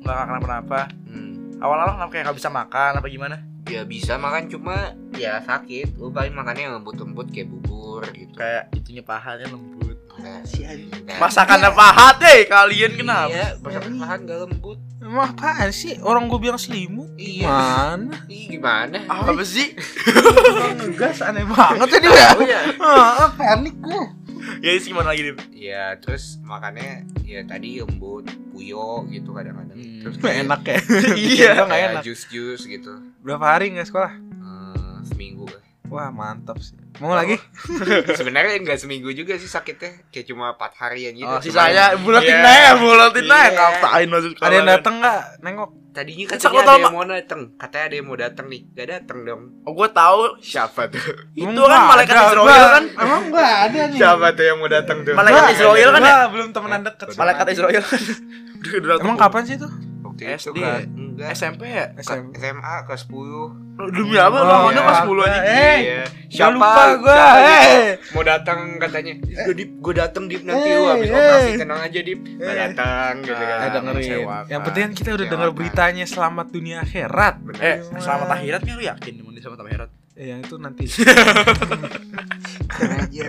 Speaker 3: nggak kenapa-napa.
Speaker 1: hmm.
Speaker 3: Awal-awal kenapa kayak nggak bisa makan apa gimana?
Speaker 1: ya bisa makan cuma ya sakit lu paling makannya yang lembut-lembut kayak bubur gitu
Speaker 3: Kayak itunya pahanya lembut.
Speaker 1: Nah,
Speaker 2: si anjing.
Speaker 1: nah.
Speaker 3: Masakannya paha deh kalian kenapa?
Speaker 1: iya masakan lahan nggak lembut
Speaker 2: Emang apaan sih? Orang gue bilang selimut.
Speaker 1: iya
Speaker 2: Mana?
Speaker 1: Ih, gimana
Speaker 3: Apa sih?
Speaker 2: Ngegas aneh banget tadi ya.
Speaker 1: Tahu ya
Speaker 2: Ah, panik gue.
Speaker 3: Ya sih gimana lagi nih?
Speaker 1: ya terus makannya ya tadi lembut puyo gitu kadang-kadang
Speaker 3: Hmm.
Speaker 1: terus
Speaker 2: Nggak enak ya.
Speaker 3: Iya.
Speaker 2: Nggak
Speaker 1: kayak
Speaker 2: enak.
Speaker 1: jus-jus gitu
Speaker 2: Berapa hari nggak sekolah?
Speaker 1: Eh, seminggu
Speaker 2: Wah mantap sih. Mau lagi?
Speaker 1: sebenarnya nggak seminggu juga sih sakitnya kayak cuma 4 harian gitu
Speaker 3: Oh,
Speaker 1: Cuman
Speaker 3: sisanya bulatin
Speaker 1: Iya.
Speaker 3: aja, bulatin
Speaker 1: Iya.
Speaker 3: aja ngapain maksud
Speaker 2: Ada yang datang nggak? Nengok.
Speaker 1: tadinya
Speaker 3: Kan
Speaker 1: katanya
Speaker 3: Saklo
Speaker 1: ada
Speaker 3: tau,
Speaker 1: yang mau dateng katanya ada yang mau dateng nih gak dateng dong
Speaker 3: Oh, gua tahu
Speaker 1: siapa tuh
Speaker 3: itu
Speaker 2: Nggak
Speaker 3: kan malaikat
Speaker 2: ada,
Speaker 3: Israel
Speaker 2: nggak.
Speaker 3: kan
Speaker 2: Emang nggak ada nih.
Speaker 1: siapa tuh yang mau dateng tuh
Speaker 3: Malaikat
Speaker 1: Nah,
Speaker 3: Israel kan ya?
Speaker 2: Wah, belum temenan deket.
Speaker 1: Betul.
Speaker 3: malaikat Israel kan. Udah, udah datang.
Speaker 2: Emang kapan sih itu?
Speaker 1: waktu itu
Speaker 3: SD.
Speaker 1: kan enggak
Speaker 3: SMP ya?
Speaker 1: Ke-
Speaker 2: SMP.
Speaker 1: SMA ke 10
Speaker 3: Lu Demi apa lu
Speaker 2: Oh,
Speaker 3: ngomongnya
Speaker 1: iya.
Speaker 3: pas 10 aja.
Speaker 2: Eh,
Speaker 1: Iya.
Speaker 2: Siapa? Lupa gue.
Speaker 1: siapa gitu?
Speaker 2: Eh,
Speaker 1: mau datang katanya gue dip gue dateng dip nanti
Speaker 2: Eh,
Speaker 1: lu habis
Speaker 2: eh.
Speaker 1: operasi tenang aja dip gak
Speaker 2: Eh.
Speaker 1: datang gitu kan
Speaker 2: Eh, dengerin.
Speaker 3: Mengecewakan.
Speaker 2: Yang penting kan kita udah
Speaker 1: Mengecewakan.
Speaker 2: dengar beritanya selamat dunia akhirat.
Speaker 1: Bener.
Speaker 3: Eh, selamat akhirat nih lu yakin nih mending selamat akhirat.
Speaker 2: Eh, yang itu nanti.
Speaker 1: Iya,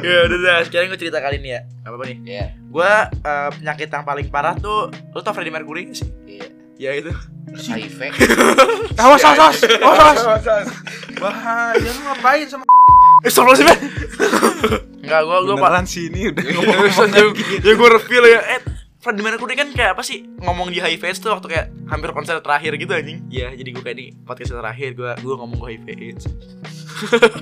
Speaker 3: Ya udah dah, sekarang gua cerita kali ini ya. Gak apa-apa nih.
Speaker 1: Iya.
Speaker 3: Gua eh, penyakit yang paling parah tuh lu tau Freddie Mercury nggak sih?
Speaker 1: Iya.
Speaker 3: Ya itu.
Speaker 1: HIV.
Speaker 2: Awas, awas, awas, awas. Bahaya ya lu ngapain sama
Speaker 3: Eh, stop lu sih, men. Enggak, gua gua
Speaker 2: beneran sini udah
Speaker 3: ya, ya gue reveal ya eh Freddie Mercury kan kayak apa sih ngomong di HIV AIDS tuh waktu kayak hampir konser terakhir gitu anjing Iya jadi gue kayak di podcast terakhir gue gue ngomong gue HIV AIDS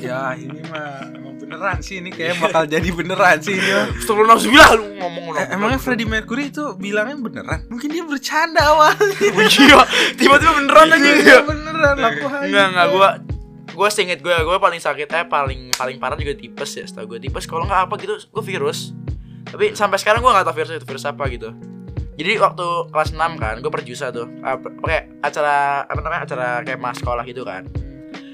Speaker 2: ya ini mah emang beneran sih ini kayak bakal jadi beneran sih ini mah.
Speaker 3: Astagfirullah lu ngomong lu
Speaker 2: Eh, emangnya Freddie Mercury itu bilangnya beneran? Mungkin dia bercanda awal.
Speaker 3: Iya tiba-tiba beneran anjing
Speaker 2: Iya beneran aku hayu.
Speaker 3: Enggak enggak gue gue seinget gue gue paling sakitnya paling paling parah juga tipes ya setahu gue tipes kalau nggak apa gitu gue virus tapi sampai sekarang gue nggak tahu virus itu virus apa gitu jadi waktu kelas 6 kan gue perjusa tuh Ah, per- kayak acara apa namanya acara kayak mas sekolah gitu kan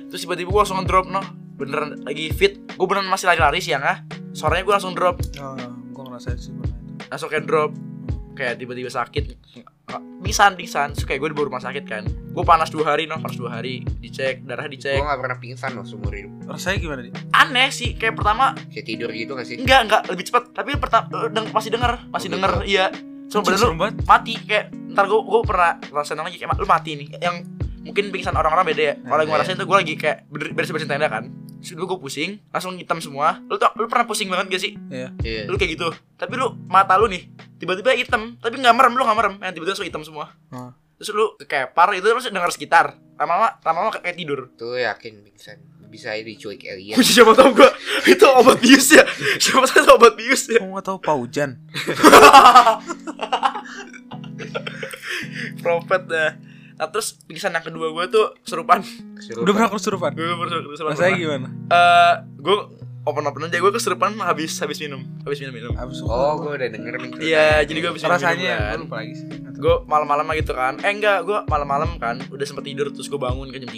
Speaker 3: terus tiba-tiba gue langsung drop no beneran lagi fit gue beneran masih lari-lari siang ah sorenya gue langsung drop
Speaker 2: Oh, gua ngerasain sih pernah itu.
Speaker 3: langsung kayak drop kayak tiba-tiba sakit pingsan pingsan terus kayak gue dibawa rumah sakit kan gue panas dua hari no panas dua hari dicek darah
Speaker 1: Gue
Speaker 3: dicek
Speaker 1: gak pernah pingsan loh seumur hidup
Speaker 2: Rasanya gimana nih?
Speaker 3: aneh sih kayak pertama
Speaker 1: Kayak tidur gitu gak sih?
Speaker 3: enggak enggak lebih cepat tapi pertama pasti denger pasti
Speaker 1: Oh,
Speaker 3: denger iya so bener lu
Speaker 2: Serem banget.
Speaker 3: mati kayak ntar gua gua pernah ngerasain lagi kayak lu mati nih yang mungkin pingsan orang-orang beda ya kalau yang gua
Speaker 1: Iya.
Speaker 3: rasain tuh gua lagi kayak bener- beres-beresin tenda kan sudah gua pusing langsung hitam semua lu tau lu pernah pusing banget gak sih
Speaker 1: Iya.
Speaker 3: lu kayak gitu tapi lu mata lu nih tiba-tiba hitam tapi nggak merem lu nggak merem yang tiba-tiba langsung hitam semua
Speaker 2: Hmm.
Speaker 3: terus lu kepar itu terus denger sekitar lama-lama lama-lama kayak tidur
Speaker 1: Tuh yakin pingsan. Bisa aja diculik alien.
Speaker 3: Kunci siapa tau gua itu obat bius ya siapa tau itu obat bius ya
Speaker 2: Kamu nggak tahu paujan?
Speaker 3: Propet dah. Nah terus pingsan yang kedua gue tuh serupan.
Speaker 1: Kesurupan.
Speaker 2: Udah pernah kesurupan?
Speaker 3: Gue kesurupan.
Speaker 2: Rasanya gimana?
Speaker 3: gue Eh, open open aja gue kesurupan habis habis minum habis minum minum.
Speaker 2: Abis
Speaker 1: Oh, gue udah denger nih.
Speaker 3: Iya jadi gue habis minum.
Speaker 2: rasanya gua
Speaker 3: minum
Speaker 2: lupa lagi sih.
Speaker 3: kan. Gue malam-malam gitu kan. Eh enggak gue malam-malam kan udah sempet tidur terus gue bangun kan jam 3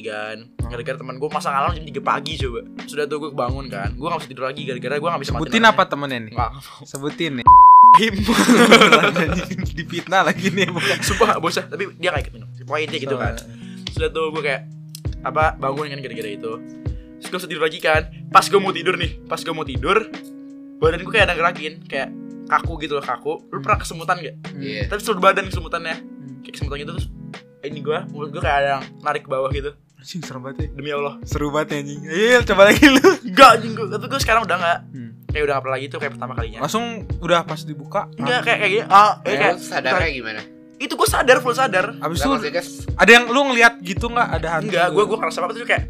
Speaker 2: Hmm.
Speaker 3: gara-gara teman gue masang alarm jam 3 pagi coba sudah tuh gue kebangun kan gue gak bisa tidur lagi gara-gara gue gak bisa
Speaker 2: Sebutin apa temennya nih?
Speaker 3: Nggak
Speaker 2: Sebutin nih.
Speaker 3: Im.
Speaker 2: Dipitnah lagi nih bukan.
Speaker 3: Sumpah bocah Tapi dia kayak gitu Pokoknya dia gitu kan Sudah tuh gue kayak Apa Bangun kan gara-gara itu Terus gue tidur lagi kan Pas gue mau tidur nih Pas gue mau tidur Badan gue kayak ada gerakin Kayak kaku gitu loh kaku Lu pernah kesemutan gak?
Speaker 1: Iya.
Speaker 3: Tapi seluruh badan kesemutannya Kayak kesemutan gitu Terus ini gue Mulut gue kayak ada yang narik ke bawah gitu
Speaker 2: Anjing serem banget ya.
Speaker 3: Demi Allah
Speaker 2: Seru banget ya anjing. Ayo coba lagi lu.
Speaker 3: Enggak anjing gue Tapi gue sekarang udah gak
Speaker 2: Hmm.
Speaker 3: Kayak udah gak pernah lagi tuh Kayak pertama kalinya
Speaker 2: Ya. Langsung udah pas dibuka.
Speaker 3: Enggak kayak kayak gini ah, eh, kayak,
Speaker 1: Terus sadarnya gimana?
Speaker 3: Itu gue sadar full sadar
Speaker 2: Abis
Speaker 1: Lah,
Speaker 2: itu
Speaker 1: maksudnya
Speaker 2: ada yang lu ngeliat gitu nggak ada hantu?
Speaker 3: Enggak, gue gue ngerasa banget tuh kayak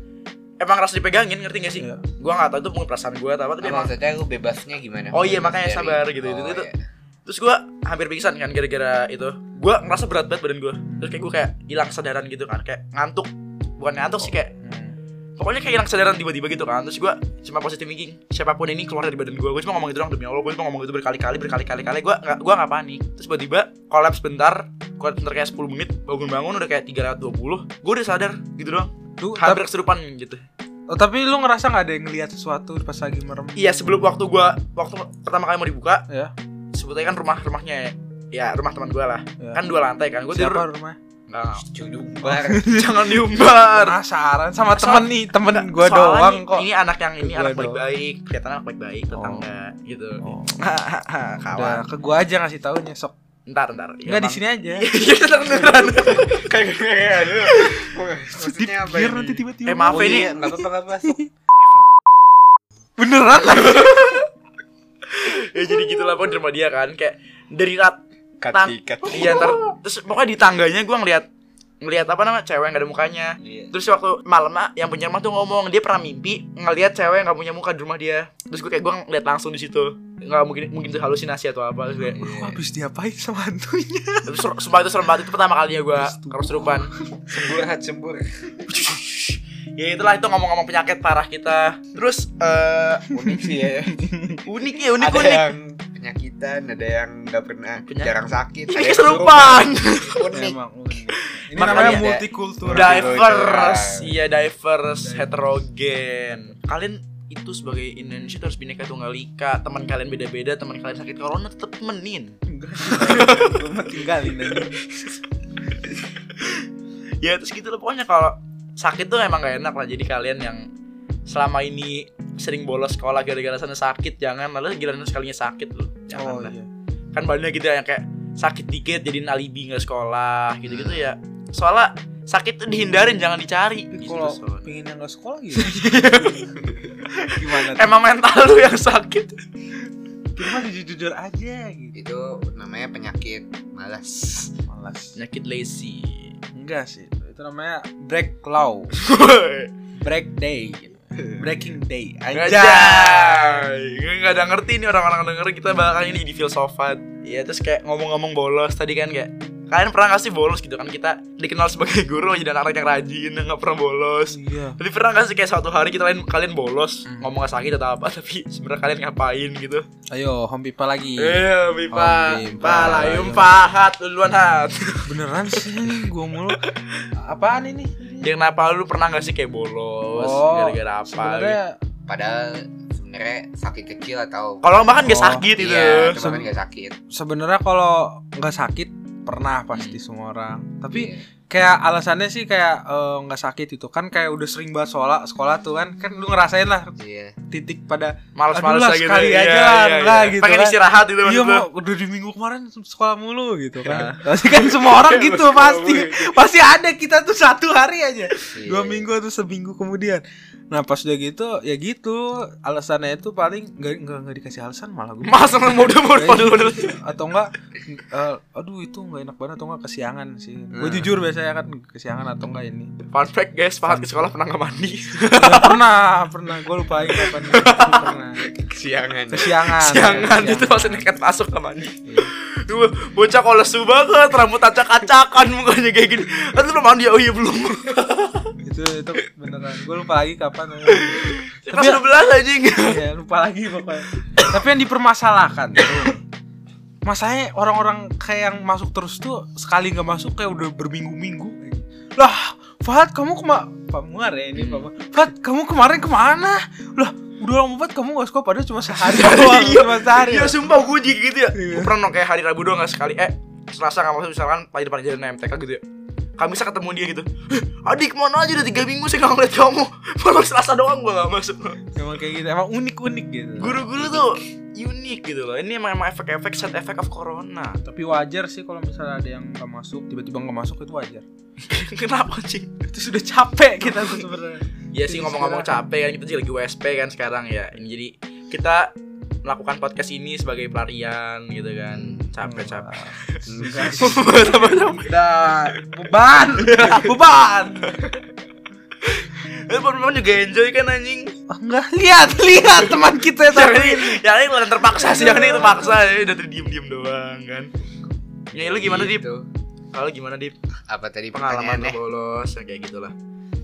Speaker 3: emang ngerasa dipegangin ngerti gak sih?
Speaker 2: Iya.
Speaker 3: Gue nggak tahu itu mungkin perasaan gue atau apa tapi
Speaker 1: Ah,
Speaker 3: emang
Speaker 1: maksudnya lu bebasnya gimana?
Speaker 3: Oh iya,
Speaker 1: Bebas
Speaker 3: makanya
Speaker 1: dari-
Speaker 3: sabar gitu, itu-
Speaker 1: Oh,
Speaker 3: itu-
Speaker 1: iya.
Speaker 3: terus gue hampir pingsan kan gara-gara itu. Gue ngerasa berat banget badan gue. Terus kayak gue kayak hilang kesadaran gitu kan, kayak ngantuk. Bukan ngantuk sih kayak
Speaker 2: Hmm.
Speaker 3: pokoknya kayak hilang kesadaran tiba-tiba gitu kan. Terus gue cuma positive thinking. Siapapun ini keluar dari badan gue, gue cuma ngomong itu doang demi Allah. Gue cuma ngomong itu berkali-kali, berkali-kali kali. Gue nggak gue nggak panik. Terus tiba-tiba kolaps bentar, kolaps bentar kayak 10 menit, bangun-bangun udah kayak 320. Gue udah sadar gitu doang.
Speaker 2: Lu, tapi,
Speaker 3: Hampir kesurupan gitu.
Speaker 2: oh, tapi lu ngerasa nggak ada yang ngeliat sesuatu pas lagi merem?
Speaker 3: Iya sebelum waktu gua waktu pertama kali mau dibuka,
Speaker 2: Ya.
Speaker 3: sebetulnya kan rumah rumahnya ya rumah teman gua lah.
Speaker 2: Ya.
Speaker 3: Kan dua lantai kan. Gua
Speaker 2: Siapa
Speaker 3: tidur. Nah.
Speaker 2: rumah?
Speaker 3: Nggak,
Speaker 1: Cudubar.
Speaker 3: jangan diumbar.
Speaker 2: Penasaran sama
Speaker 3: Soal-
Speaker 2: temen nih, temen gua
Speaker 3: Soalnya iya.
Speaker 2: doang
Speaker 3: ini-
Speaker 2: kok.
Speaker 3: Ini anak yang ini
Speaker 2: Gua
Speaker 3: anak
Speaker 2: doang.
Speaker 3: baik-baik, kelihatan anak baik-baik tetangga gitu.
Speaker 2: Oh,
Speaker 3: Kawan.
Speaker 2: udah ke gua aja ngasih taunya sok.
Speaker 3: Ntar ntar.
Speaker 2: Enggak di sini aja.
Speaker 3: Iya ntar ntar. Kayak kayak
Speaker 1: Maksudnya apa
Speaker 2: Biar
Speaker 1: ini?
Speaker 2: nanti tiba-tiba.
Speaker 3: Eh maaf ya, ini
Speaker 1: Iya, nggak apa-apa nggak apa-apa.
Speaker 2: Beneran
Speaker 3: Iya.
Speaker 2: lagi.
Speaker 3: ya jadi gitulah pokoknya di rumah dia kan kayak dari rat
Speaker 1: Cut,
Speaker 3: Tang-
Speaker 1: di- cut.
Speaker 3: iya ntar terus pokoknya di tangganya gua ngeliat ngeliat apa namanya cewek yang gak ada mukanya
Speaker 1: Iya.
Speaker 3: Terus waktu malam ah, yang punya rumah tuh ngomong dia pernah mimpi ngelihat cewek yang gak punya muka di rumah dia. Terus gue kayak gue ngeliat langsung di situ. Nggak mungkin mungkin itu halusinasi atau apa terus kayak.
Speaker 1: Iya.
Speaker 2: Habis diapain sama hantunya?
Speaker 3: Terus ser- sumpah itu serem banget itu pertama kalinya gue kesurupan.
Speaker 1: Sembur hat sembur.
Speaker 3: ya itulah itu ngomong-ngomong penyakit parah kita. Terus eh
Speaker 1: Unik sih ya.
Speaker 3: unik ya unik
Speaker 1: ada
Speaker 3: unik.
Speaker 1: yang penyakitan, ada yang nggak pernah
Speaker 3: Penyakit.
Speaker 1: jarang sakit.
Speaker 3: Ini
Speaker 1: ada yang
Speaker 3: kesurupan.
Speaker 1: serupa. Unik.
Speaker 2: Emang unik. Ini
Speaker 3: Makanya
Speaker 2: namanya
Speaker 1: ada-
Speaker 2: multikultural.
Speaker 1: Udah.
Speaker 3: Diverse, iya diverse, heterogen. Kalian itu sebagai Indonesia itu harus bineka tunggal ika. Teman kalian beda-beda, teman kalian sakit corona tetap temenin.
Speaker 2: Gua mau tinggalin aja.
Speaker 3: ya terus gitu loh pokoknya kalau sakit tuh emang gak enak lah jadi kalian yang selama ini sering bolos sekolah gara-gara sana sakit jangan lalu giliran sekalinya sakit loh jangan
Speaker 2: Oh
Speaker 3: lah.
Speaker 2: iya.
Speaker 3: kan banyak gitu yang kayak sakit dikit jadiin alibi nggak sekolah gitu-gitu ya soalnya sakit tuh dihindarin jangan dicari
Speaker 2: Tapi
Speaker 3: gitu
Speaker 2: kalau
Speaker 3: Son.
Speaker 2: pengen yang gak sekolah gitu Gimana tuh?
Speaker 3: emang mental lu yang sakit
Speaker 2: Kita mah jujur aja gitu
Speaker 1: Itu namanya penyakit malas.
Speaker 2: Malas
Speaker 3: penyakit lazy
Speaker 2: Enggak sih Itu namanya break law Break day gitu. Breaking day Aja
Speaker 3: Anjay Gak ada ngerti nih orang-orang denger Kita bakal ini di filsofat Ya terus kayak ngomong-ngomong bolos tadi kan kayak Kalian pernah gak sih bolos gitu kan Kita dikenal sebagai guru jadi anak-anak yang rajin yang Gak pernah bolos
Speaker 2: Iya
Speaker 3: Tapi pernah gak sih kayak suatu hari kita lain, kalian bolos
Speaker 2: Hmm.
Speaker 3: Ngomong gak sakit atau apa Tapi sebenarnya kalian ngapain gitu
Speaker 2: Ayo home people lagi
Speaker 3: Eh
Speaker 2: Oh,
Speaker 3: Bipa
Speaker 2: Bipa.
Speaker 3: Bipa Layum Pahat Duluan hat
Speaker 2: Beneran sih ini gua mulu Apaan ini?
Speaker 3: Ya kenapa lu pernah gak sih kayak bolos
Speaker 2: Oh,
Speaker 3: Gara-gara apa gitu.
Speaker 2: Sebenarnya
Speaker 1: Padahal sebenarnya sakit kecil atau
Speaker 3: Kalau makan gak
Speaker 2: Oh,
Speaker 3: sakit gitu. itu
Speaker 1: Iya, cuma kan
Speaker 2: Sem-
Speaker 1: nggak sakit.
Speaker 2: sebenarnya kalau nggak sakit pernah pasti semua orang tapi
Speaker 1: Iya.
Speaker 2: kayak alasannya sih kayak eh, nggak sakit itu kan kayak udah sering banget sekolah sekolah tuh kan kan lu ngerasain lah
Speaker 1: Iya.
Speaker 2: titik pada Aduh
Speaker 3: Males-males
Speaker 2: lah,
Speaker 3: lah gitu
Speaker 2: sekali
Speaker 3: Iya,
Speaker 2: aja lah,
Speaker 3: iya,
Speaker 2: lah
Speaker 3: iya.
Speaker 2: gitu
Speaker 3: Pengen
Speaker 2: kan.
Speaker 3: istirahat gitu
Speaker 2: iya
Speaker 3: maksud lu.
Speaker 2: mau udah di minggu kemarin sekolah mulu gitu kan pasti kan semua
Speaker 3: Iya,
Speaker 2: orang gitu pasti pasti ada kita tuh satu hari aja
Speaker 1: Iya.
Speaker 2: dua minggu atau seminggu kemudian nah pas udah gitu ya gitu alasannya itu paling nggak nggak nggak dikasih alasan malah gue
Speaker 3: Mas orang mode
Speaker 2: Iya,
Speaker 3: mode mode mode.
Speaker 2: atau enggak eh, aduh itu nggak enak banget atau enggak kesiangan sih gue
Speaker 1: Nah.
Speaker 2: jujur biasanya kan kesiangan atau enggak ini
Speaker 3: Fun fact guys, Fahad ke sekolah pernah nggak mandi.
Speaker 2: Ya, pernah pernah gue lupain kapan pernah
Speaker 3: Iya,
Speaker 1: Kesiangan.
Speaker 2: kesiangan
Speaker 3: Siangan
Speaker 2: ya,
Speaker 3: itu
Speaker 2: kesiangan.
Speaker 3: kan. masih nekat masuk nggak mandi.
Speaker 2: Iya.
Speaker 3: Duh, bocah kalau lesu banget, rambut acak-acakan mukanya kayak gini. Kan lu belum mandi, oh iya belum.
Speaker 2: itu itu beneran gue lupa lagi kapan
Speaker 3: Kelas 12 anjing.
Speaker 2: ya lupa lagi pokoknya tapi yang dipermasalahkan tuh masalahnya orang-orang kayak yang masuk terus tuh sekali nggak masuk kayak udah berminggu-minggu lah Fat kamu kema Pak Muar ya ini
Speaker 3: Hmm.
Speaker 2: Pak Muar. Fat kamu kemarin kemana lah udah lama banget kamu gak sekolah padahal cuma sehari doang
Speaker 3: Iya.
Speaker 2: cuma sehari
Speaker 3: Iya sumpah gue juga gitu ya Gue pernah no, kayak hari Rabu doang gak sekali Eh Selasa gak maksud misalkan Lagi depan jalan MTK gitu ya Kami bisa ketemu dia gitu "Eh, Adik mana aja udah 3 minggu saya gak ngeliat kamu Baru Selasa doang gue gak masuk
Speaker 2: emang kayak gitu emang unik unik gitu
Speaker 3: Guru-guru tuh unik gitu loh Ini emang, emang efek-efek set efek of corona
Speaker 2: tapi wajar sih kalau misalnya ada yang gak masuk tiba-tiba gak masuk itu wajar
Speaker 3: Kenapa sih?
Speaker 2: itu sudah capek kita tuh sebenarnya
Speaker 3: Iya sih ngomong-ngomong capek kan Kita juga lagi WSP kan sekarang ya Ini Jadi kita melakukan podcast ini sebagai pelarian gitu kan capek-capek
Speaker 1: Enggak sih.
Speaker 3: Tambah-tambah.
Speaker 2: udah beban beban
Speaker 3: Eh teman-teman juga enjoy kan anjing
Speaker 2: Ah, enggak lihat lihat teman kita
Speaker 3: yang ini
Speaker 2: tadi
Speaker 3: yang ini bukan terpaksa sih yang ini terpaksa ya udah diem diem doang kan ya lu gimana dip
Speaker 1: Gitu.
Speaker 3: kalau gimana dip
Speaker 1: Apa tadi
Speaker 3: pengalaman lu
Speaker 1: pengalaman
Speaker 3: bolos yang kayak gitulah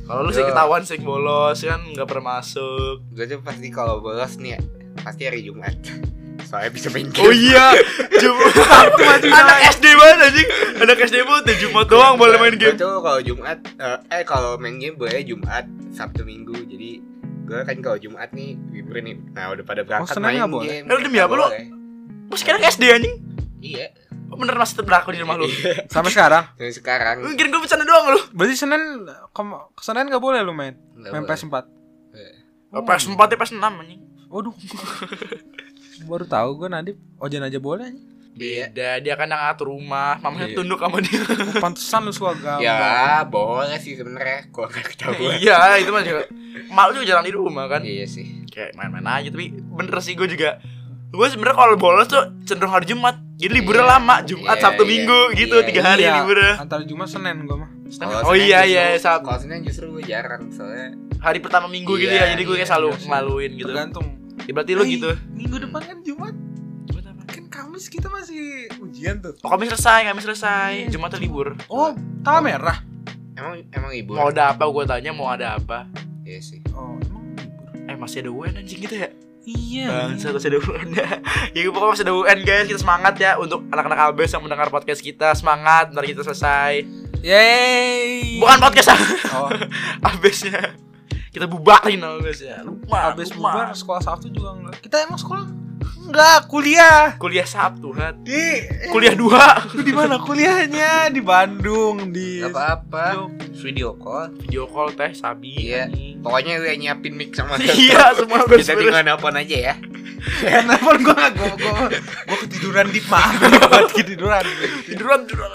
Speaker 3: kalau lu sih
Speaker 1: Yo.
Speaker 3: ketahuan sering bolos kan nggak pernah masuk
Speaker 1: Gue tuh pasti kalau bolos nih ya, pasti hari Jumat. Soalnya bisa main game.
Speaker 3: oh iya jumat anak sd banget anjing anak sd banget ya jumat doang boleh main
Speaker 1: Gua
Speaker 3: game
Speaker 1: tuh kalau Jumat eh, eh kalau main game boleh Jumat, Sabtu Minggu. Jadi gue kan kalau Jumat nih libur nih. Nah, udah pada berangkat
Speaker 2: Senin
Speaker 1: main
Speaker 2: nggak boleh?
Speaker 1: game.
Speaker 3: Oh, Eh, lu demi apa lu?
Speaker 1: Boleh.
Speaker 3: Mas sekarang sd anjing
Speaker 1: Iya.
Speaker 3: Oh, bener masih tetep berlaku di rumah lu
Speaker 2: sampai sekarang
Speaker 1: Dan sekarang
Speaker 3: mungkin gue bercanda doang lu
Speaker 2: berarti senin ke- senin nggak boleh lu main
Speaker 1: nggak
Speaker 2: main
Speaker 1: boleh.
Speaker 2: PS 4
Speaker 3: oh, pas empat ya pas enam anjing
Speaker 2: waduh baru tahu gue Nadif ojan aja boleh anjing.
Speaker 1: Iya.
Speaker 3: beda dia kan yang ngatur rumah mamanya
Speaker 1: Iya.
Speaker 3: tunduk sama dia
Speaker 2: pantesan lu suka gampang
Speaker 1: Ya, boleh sih sebenarnya. Gua nggak ketahuan.
Speaker 3: iya itu mah juga malu juga jarang di rumah kan
Speaker 1: Iya sih.
Speaker 3: kayak main-main aja tapi bener sih gue juga gue sebenarnya kalau bolos tuh cenderung hari Jumat jadi liburnya
Speaker 1: Iya.
Speaker 3: lama Jumat
Speaker 1: Iya,
Speaker 3: Sabtu
Speaker 1: iya.
Speaker 3: Minggu gitu
Speaker 1: Iya, gitu.
Speaker 3: tiga hari
Speaker 2: Iya,
Speaker 3: liburnya
Speaker 2: antara Jumat Senin gue mah
Speaker 1: Kalau
Speaker 3: oh
Speaker 1: Senin
Speaker 3: iya
Speaker 1: justru-
Speaker 3: iya Sabtu
Speaker 1: Kalau Senin justru gue jarang soalnya.
Speaker 3: hari pertama Minggu gitu
Speaker 1: Iya,
Speaker 3: ya jadi gue kayak
Speaker 1: iya,
Speaker 3: selalu
Speaker 1: iya sih.
Speaker 3: ngelaluin gitu
Speaker 2: tergantung
Speaker 3: ya, berarti lu
Speaker 2: Eh,
Speaker 3: gitu
Speaker 2: minggu depan kan Jumat kan Kamis kita masih ujian tuh
Speaker 3: oh kami selesai kami selesai
Speaker 1: Iya.
Speaker 3: Jumat tuh libur
Speaker 2: oh tanggal merah
Speaker 1: Emang emang ibu.
Speaker 3: mau ada apa gue tanya mau ada apa
Speaker 1: Iya sih.
Speaker 2: oh emang libur
Speaker 3: eh masih ada UN anjing gitu ya
Speaker 2: iya
Speaker 3: Bangsa masih ada UN Ya pokoknya masih ada UN guys Kita semangat ya Untuk anak-anak Albes yang mendengar podcast kita Semangat Ntar kita selesai
Speaker 1: Iya.
Speaker 2: Yeay
Speaker 3: Bukan podcast
Speaker 2: oh,
Speaker 3: abisnya kita bubarin abisnya lupa
Speaker 2: habis bubar sekolah Sabtu juga enggak kita emang sekolah enggak kuliah
Speaker 3: kuliah Sabtu hat
Speaker 2: di
Speaker 3: kuliah dua
Speaker 2: lu di mana kuliahnya di Bandung di
Speaker 1: Gak apa-apa. Iya, Video call.
Speaker 3: video call teh sabi
Speaker 1: Iya.
Speaker 3: anjing.
Speaker 1: Pokoknya lu yang nyiapin mic sama
Speaker 3: iya semua gue
Speaker 1: Kita tinggal nelpon aja ya.
Speaker 2: Kan Telepon gue gak gue gue gue ketiduran di maaf gue ketiduran.
Speaker 3: tiduran tiduran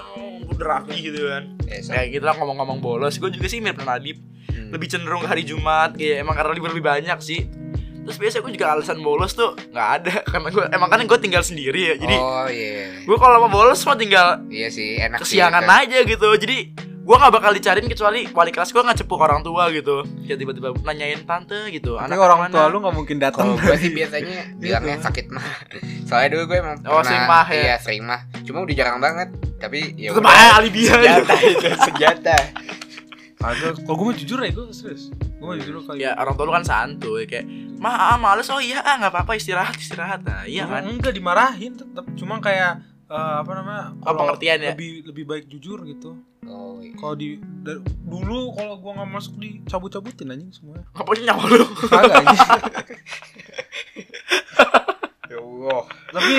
Speaker 3: udah rapi gitu kan
Speaker 1: Eh, so-
Speaker 3: kayak gitu lah ngomong-ngomong bolos gue juga sih mirip Nadib
Speaker 1: Hmm.
Speaker 3: lebih cenderung ke hari Jumat kayak emang karena libur lebih banyak sih terus biasanya gue juga alasan bolos tuh nggak ada karena gue emang kan gue tinggal sendiri ya jadi
Speaker 1: oh iya
Speaker 3: gue kalau mau bolos mah tinggal
Speaker 1: iya sih enak sih,
Speaker 3: kesiangan
Speaker 1: kan.
Speaker 3: aja gitu jadi gua nggak bakal dicariin kecuali wali kelas gua nggak cepuk orang tua gitu ya tiba-tiba nanyain tante gitu
Speaker 2: Tapi
Speaker 3: anak
Speaker 2: orang
Speaker 3: mana? Oh,
Speaker 2: tua lu gak mungkin datang.
Speaker 1: kalau gue sih biasanya bilangnya sakit mah soalnya dulu gue emang
Speaker 3: Iya. Oh, sering mah ya?
Speaker 1: iya sering mah cuma udah jarang banget tapi ya
Speaker 3: tetep
Speaker 1: udah.
Speaker 3: aja alibi aja
Speaker 1: senjata itu senjata
Speaker 2: Agak, kalau gue mah jujur ya gue serius. Gue mah jujur kalau
Speaker 3: ya orang tua lu kan santuy kayak mah ah, males oh iya ah nggak apa-apa istirahat istirahat nah iya
Speaker 2: Cuma
Speaker 3: kan
Speaker 2: Enggak dimarahin tetap. Cuma kayak eh, apa namanya?
Speaker 3: Oh,
Speaker 2: kalau
Speaker 3: pengertian ya?
Speaker 2: Lebih lebih baik jujur gitu.
Speaker 1: oh iya.
Speaker 2: Kalau di dari- dulu kalau gue nggak masuk dicabut-cabutin anjing semuanya.
Speaker 3: ngapain Hmm. nyawa lu
Speaker 2: Kagak anjing.
Speaker 1: ya allah
Speaker 2: Tapi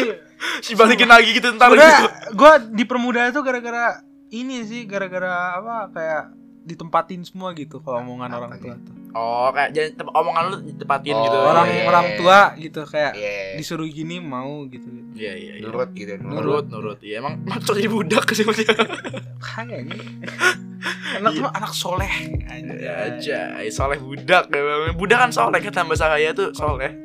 Speaker 3: si balikin lagi gitu ntar
Speaker 2: udah
Speaker 3: gitu
Speaker 2: gue dipermudah itu gara-gara ini sih gara-gara apa kayak ditempatin semua gitu kalau omongan
Speaker 1: Apa
Speaker 2: orang
Speaker 1: nih?
Speaker 2: tua tuh.
Speaker 3: oh kayak jadi tep- omongan lu tepatin
Speaker 1: Oh,
Speaker 3: gitu
Speaker 2: orang
Speaker 1: iya.
Speaker 2: orang tua gitu kayak
Speaker 1: iya
Speaker 2: disuruh gini mau gitu.
Speaker 3: iya iya iya.
Speaker 1: nurut gitu nurut
Speaker 3: nurut nurut iya emang macam jadi budak sih maksudnya
Speaker 2: Kagak ini. anak
Speaker 3: Iya.
Speaker 2: tuh anak soleh.
Speaker 3: Ya aja, soleh budak emang. Budak kan soleh kata bahasa saya tuh soleh.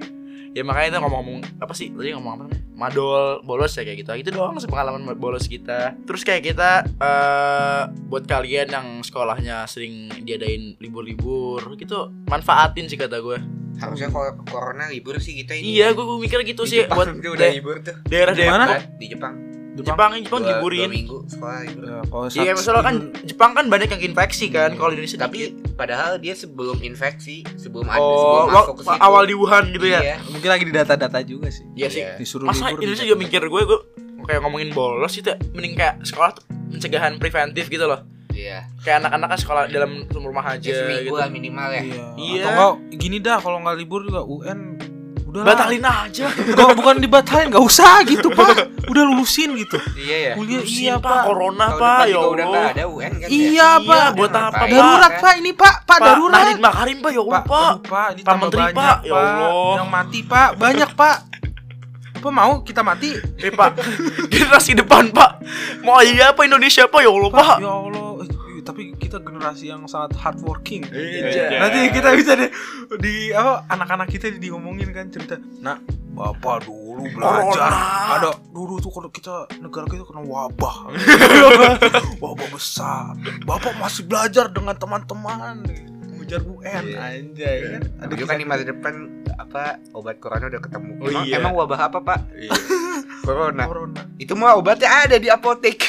Speaker 3: Ya makanya itu ngomong-ngomong apa sih tadi ngomong apa namanya? Madol, bolos ya kayak gitu. Itu doang sih pengalaman bolos kita. Terus kayak kita eh buat kalian yang sekolahnya sering diadain libur-libur gitu, manfaatin sih kata gue.
Speaker 1: harusnya kalau corona libur sih kita ini
Speaker 3: Iya, gue, gue mikir gitu
Speaker 1: Di
Speaker 3: sih
Speaker 1: Jepang
Speaker 3: buat
Speaker 1: tuh udah
Speaker 3: da-
Speaker 1: libur tuh
Speaker 3: daerah
Speaker 2: Di mana?
Speaker 3: daerah
Speaker 1: di Jepang
Speaker 3: Jepang Jepang
Speaker 1: Dua-
Speaker 3: liburin.
Speaker 1: dua minggu sekolah libur
Speaker 2: Ya, kalau
Speaker 3: Iya,
Speaker 2: satu-
Speaker 3: misalnya kan Jepang kan banyak yang infeksi kan, kalau Indonesia dikit.
Speaker 1: tapi padahal dia sebelum infeksi sebelum ada
Speaker 3: Oh,
Speaker 1: sebelum
Speaker 3: wa-
Speaker 1: masuk ke situ
Speaker 3: awal di Wuhan gitu ya.
Speaker 1: Iya.
Speaker 2: mungkin lagi di data-data juga sih.
Speaker 3: Iya sih.
Speaker 1: Iya.
Speaker 2: Disuruh
Speaker 3: Masa
Speaker 2: libur.
Speaker 3: Indonesia
Speaker 2: gitu.
Speaker 3: juga mikir gue gue kayak ngomongin bolos itu mending kayak sekolah tuh pencegahan preventif gitu loh.
Speaker 1: Iya.
Speaker 3: Kayak anak-anaknya sekolah dalam rumah aja
Speaker 1: Ya seminggu
Speaker 3: gitu.
Speaker 1: lah minimal ya.
Speaker 3: Iya.
Speaker 2: Atau enggak gini dah kalau nggak libur juga UN udah lah.
Speaker 3: Batalin aja.
Speaker 2: Nggak, bukan dibatalin, nggak usah gitu, Pak. Udah lulusin gitu.
Speaker 1: Iya ya.
Speaker 2: Kuliah
Speaker 3: Pusing,
Speaker 2: iya, Pak.
Speaker 3: Corona,
Speaker 1: Tahun
Speaker 3: Pak.
Speaker 1: depan
Speaker 3: Ya
Speaker 1: juga udah
Speaker 3: Allah.
Speaker 1: nggak ada UN kan ya?
Speaker 2: Iya, Pak.
Speaker 3: buat apa,
Speaker 1: Pak?
Speaker 2: Darurat, Pak. Ini, Pak. Pak,
Speaker 3: Iya. Pak,
Speaker 2: darurat.
Speaker 3: narin makarin, Pak. Ya Allah,
Speaker 2: Pak,
Speaker 3: Pak.
Speaker 2: aduh, Pak, ini
Speaker 3: Pak
Speaker 2: tambah
Speaker 3: Menteri,
Speaker 2: banyak,
Speaker 3: Pak. Ya Allah.
Speaker 2: Yang mati, Pak. Banyak, Pak. Apa mau kita mati?
Speaker 3: Eh, Pak. Generasi depan, Pak. Mau iya apa Indonesia, Pak? Ya Allah, Pak.
Speaker 2: Ya Allah, eh, eh, tapi kita generasi yang sangat hardworking.
Speaker 3: Iya.
Speaker 2: Nanti kita bisa di, di apa anak-anak kita di- diomongin kan cerita. Nah, Bapak dulu belajar
Speaker 3: Corona.
Speaker 2: ada dulu tuh kalau kita negara kita kena wabah. wabah besar. Bapak masih belajar dengan teman-teman. Mengejar UN
Speaker 1: Iya.
Speaker 2: anjay kan.
Speaker 1: Ada juga
Speaker 2: kisah-
Speaker 1: kan di masa depan apa obat corona udah ketemu.
Speaker 3: Oh,
Speaker 1: emang,
Speaker 3: iya.
Speaker 1: emang wabah apa pak?
Speaker 3: Nah,
Speaker 1: corona.
Speaker 2: Corona.
Speaker 1: Itu mah obatnya ada di apotek.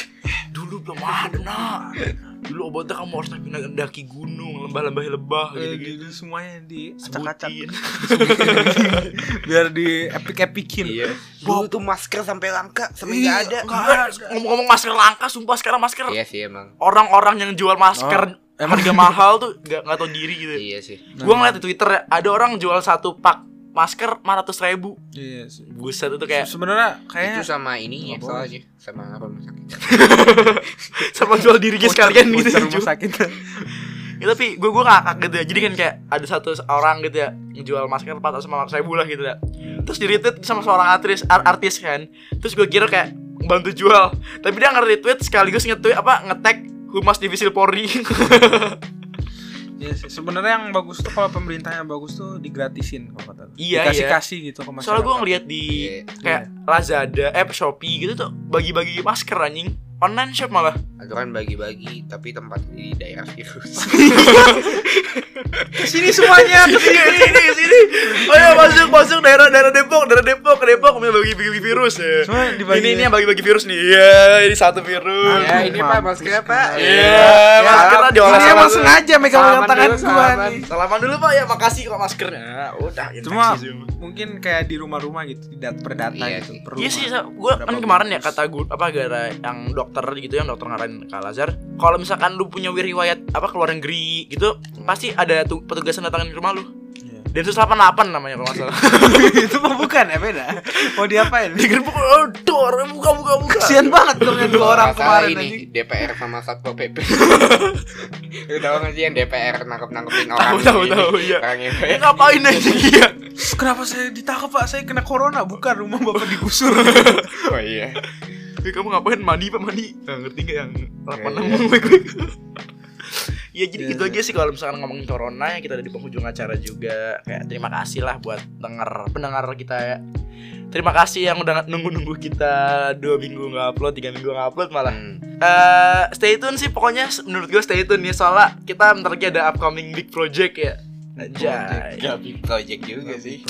Speaker 3: Dulu belum ada. Dulu obatnya kamu harus naik naik daki gunung, lembah-lembah lebah
Speaker 2: Eh,
Speaker 3: gitu.
Speaker 2: di- di- semuanya di acak-acak.
Speaker 3: Sebutin.
Speaker 2: biar di epic epikin
Speaker 3: Iya.
Speaker 1: Dulu tuh masker sampai langka sampai
Speaker 2: Iya,
Speaker 1: nggak ada.
Speaker 2: nggak
Speaker 3: Enggak, ngomong-ngomong masker langka, sumpah sekarang masker
Speaker 1: Iya sih emang.
Speaker 3: orang-orang yang jual masker
Speaker 2: Oh, emang
Speaker 3: harga mahal tuh nggak nggak tahu diri gitu.
Speaker 1: Iya sih.
Speaker 3: Gua ngeliat di Twitter ya, ada orang jual satu pak masker 400 ribu
Speaker 2: Iya, se-
Speaker 3: Buset itu kayak
Speaker 2: sebenarnya
Speaker 1: Itu
Speaker 2: kayaknya
Speaker 1: sama ininya
Speaker 2: Nggak
Speaker 1: soalnya sama rumah sakit.
Speaker 3: sama jual dirinya
Speaker 2: voucher-
Speaker 3: sekalian gitu
Speaker 2: voucher
Speaker 3: Ju.
Speaker 2: rumah sakit
Speaker 3: ya, Tapi gue gue ngakak gitu ya Jadi kan kayak ada satu orang gitu ya Jual masker 400 sama ribu lah gitu ya Terus di retweet sama seorang artis, ar- artis kan Terus gue kira kayak bantu jual Tapi dia nge-retweet sekaligus nge-tweet apa nge-tag Humas Divisi Polri
Speaker 2: Iya sih, sebenarnya yang bagus tuh kalau pemerintahnya bagus tuh digratisin kalau kata lu.
Speaker 3: Iya,
Speaker 2: dikasih
Speaker 3: iya.
Speaker 2: kasih gitu ke masyarakat
Speaker 3: Soalnya gue ngeliat di
Speaker 1: Iya.
Speaker 3: kayak Lazada, eh Shopee gitu tuh Bagi-bagi masker anjing Online shop malah
Speaker 1: Aturan bagi-bagi tapi tempat di daerah virus.
Speaker 2: kesini semuanya
Speaker 3: sini sini sini ayo Oh iya, masuk masuk daerah daerah Depok daerah Depok Depok mau bagi bagi virus ya Nah.
Speaker 2: semua dibagi
Speaker 3: ini ini yang bagi bagi virus nih iya ini satu virus
Speaker 1: ya ini pak maskernya pak.
Speaker 3: Iya, maskernya diolah
Speaker 2: ini emang
Speaker 3: sama-
Speaker 2: sengaja megang
Speaker 1: salaman
Speaker 2: yang tangan
Speaker 1: dulu,
Speaker 2: gua
Speaker 1: salaman.
Speaker 2: nih
Speaker 3: salaman dulu pak ya makasih kok maskernya udah infeksi
Speaker 2: cuma
Speaker 3: semua.
Speaker 2: mungkin kayak di rumah-rumah gitu di dat perdata
Speaker 1: Iya
Speaker 2: gitu
Speaker 1: sih.
Speaker 2: per
Speaker 3: Iya
Speaker 2: rumah.
Speaker 3: sih, gue kan
Speaker 2: Berapa
Speaker 3: kemarin ya
Speaker 2: bungkus?
Speaker 3: kata gue apa gara yang dokter gitu yang dokter ngarahin Kak Lazar, kalau misalkan lu punya riwayat apa keluar negeri gitu, pasti ada tu- petugas yang datangin ke rumah lu.
Speaker 2: Iya.
Speaker 3: Densus 88 namanya kalau nggak salah.
Speaker 2: itu mah bukan ya beda mau diapain
Speaker 3: Digerebek, "Oh, dor, buka buka buka.
Speaker 2: kasian banget dong yang dua orang
Speaker 1: Masalah
Speaker 2: kemarin
Speaker 1: ini
Speaker 2: anjing.
Speaker 1: DPR sama satpol pp lu tau gak sih yang DPR nangkep nangkepin orang
Speaker 3: Tahu tahu
Speaker 1: ini?
Speaker 3: tahu iya.
Speaker 1: orang yang
Speaker 3: Eh, ngapain aja Iya. dia?
Speaker 2: Kenapa saya ditangkap pak? Saya kena corona Bukan rumah bapak digusur
Speaker 1: oh iya
Speaker 3: Eh, kamu ngapain mandi pak mandi? Nggak ngerti nggak yang delapan
Speaker 1: Iya,
Speaker 3: enam gue gue. gitu. Ya jadi
Speaker 2: Iya,
Speaker 3: gitu aja sih kalau misalkan ngomongin corona ya kita ada di penghujung acara juga kayak terima kasih lah buat denger pendengar kita ya. Terima kasih yang udah nunggu-nunggu kita dua minggu nggak upload, tiga minggu nggak upload malah.
Speaker 1: Hmm.
Speaker 3: Eh stay tune sih pokoknya menurut gue stay tune ya soalnya kita bentar lagi ada upcoming big project ya. Anjay.
Speaker 1: gak big project juga
Speaker 2: Iya
Speaker 1: sih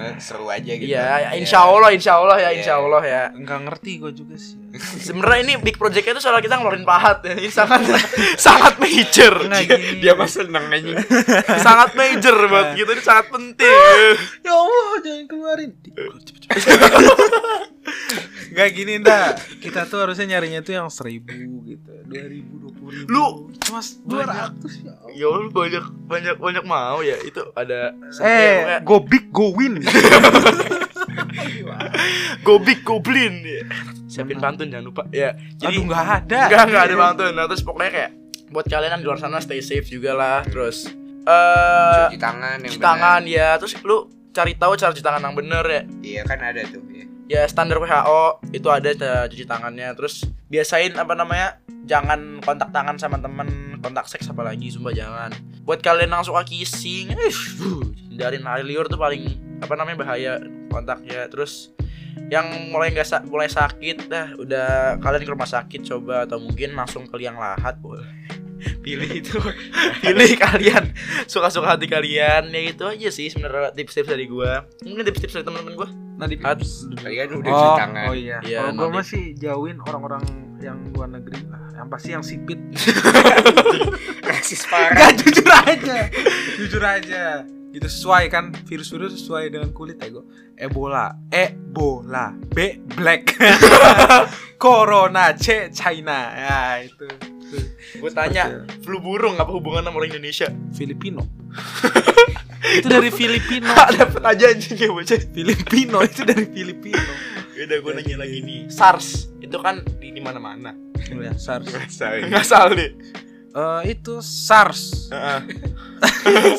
Speaker 1: Eh, seru aja gitu
Speaker 3: Iya, insya Allah, insya Allah ya,
Speaker 1: Iya.
Speaker 3: insya Allah ya.
Speaker 2: Enggak ngerti gue juga sih
Speaker 3: Sebenarnya ini big projectnya itu soal kita ngeluarin pahat ya. Ini sangat sangat major. Iya,
Speaker 2: Enggak gini.
Speaker 1: dia mah seneng aja
Speaker 3: sangat major buat kita ini sangat penting.
Speaker 2: Ya Allah jangan keluarin Enggak gini dah Kita tuh harusnya nyarinya tuh yang seribu gitu Dua ribu, dua puluh ribu
Speaker 3: Lu
Speaker 2: Cuma dua ratus ya Allah.
Speaker 3: ya Allah, banyak banyak banyak mau ya itu ada
Speaker 2: Eh,
Speaker 3: ya, pokoknya
Speaker 2: go big, go win
Speaker 3: gobik goblin ya. Siapin pantun jangan lupa ya. Jadi
Speaker 2: Aduh nggak ada
Speaker 3: Enggak, enggak ada pantun. Nah, terus pokoknya kayak buat kalian yang di luar sana stay safe juga lah. Terus eh
Speaker 1: cuci tangan yang
Speaker 3: cuci
Speaker 1: benar.
Speaker 3: tangan ya. Terus lu cari tahu cara cuci tangan yang bener ya.
Speaker 1: iya kan ada tuh iya.
Speaker 3: ya standar WHO itu ada cara cuci tangannya terus biasain apa namanya jangan kontak tangan sama temen kontak seks apalagi sumpah jangan buat kalian yang suka kissing eh, hindarin hari liur tuh paling apa namanya bahaya kontaknya terus yang mulai nggak sa- mulai sakit dah udah kalian ke rumah sakit coba atau mungkin langsung ke liang lahat boleh pilih itu pilih kalian suka-suka hati kalian ya itu aja sih sebenarnya tips-tips dari gua mungkin tips-tips dari teman-teman gua
Speaker 2: Nah, di-
Speaker 3: At-
Speaker 1: tadi kan udah cuci
Speaker 2: Oh,
Speaker 1: tangan
Speaker 2: oh iya.
Speaker 3: Iya,
Speaker 2: Kalau gue
Speaker 3: nanti.
Speaker 2: masih jauhin orang-orang yang luar negeri lah. Yang pasti yang sipit.
Speaker 1: rasis parah
Speaker 2: Gak jujur aja. jujur aja. Itu sesuai kan virus-virus sesuai dengan kulit ya gue. Ebola, Ebola, B black. Corona, C China. Ya itu.
Speaker 3: Gue tanya, flu burung apa hubungan sama orang Indonesia?
Speaker 2: Filipino. itu dari Filipino.
Speaker 3: Tak dapet aja anjing ya bocah.
Speaker 2: Filipino itu dari Filipino.
Speaker 3: Beda gue nanya lagi nih. SARS itu kan di, di mana-mana.
Speaker 2: Ya, SARS.
Speaker 1: Sorry.
Speaker 3: Enggak salah nih.
Speaker 2: Eh, itu SARS.
Speaker 3: Heeh.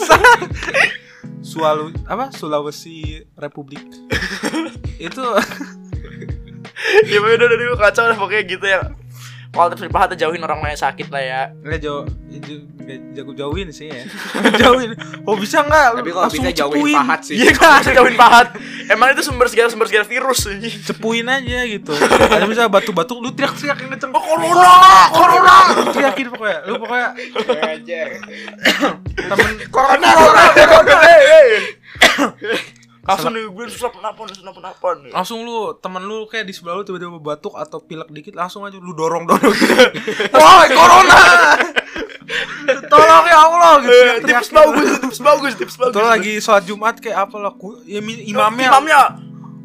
Speaker 2: Sualu apa Sulawesi Republik. itu
Speaker 3: Ya udah udah udah, kacau lah pokoknya gitu ya. Kalau terus dibahas jauhin orang lain yang sakit lah ya.
Speaker 2: nggak jauh nggak jago jauhin sih ya. jauhin. Oh bisa nggak?
Speaker 1: Tapi kalau
Speaker 2: Langsung
Speaker 1: bisa jauhin
Speaker 2: cepuin.
Speaker 1: pahat sih.
Speaker 3: Iya kan, jauhin pahat. Emang itu sumber segala sumber segala virus anjing.
Speaker 2: cepuin aja gitu ada misalnya batuk-batuk lu teriak-teriak yang kenceng
Speaker 3: Oh, corona, corona.
Speaker 2: Lu teriakin pokoknya lu pokoknya
Speaker 1: Ajar.
Speaker 2: temen
Speaker 3: Corona, corona, corona. Langsung nih gue susah penapon, susah penapon.
Speaker 2: langsung lu temen lu kayak di sebelah lu tiba-tiba batuk atau pilek dikit langsung aja lu dorong dorong gitu.
Speaker 3: Woi, corona.
Speaker 2: tolong ya Allah gitu
Speaker 3: Eh,
Speaker 2: teriak
Speaker 3: Tips bagus, tips bagus, tips bagus.
Speaker 2: Terus lagi sholat Jumat kayak apa lah ku- ya, mi- imamnya,
Speaker 3: imamnya.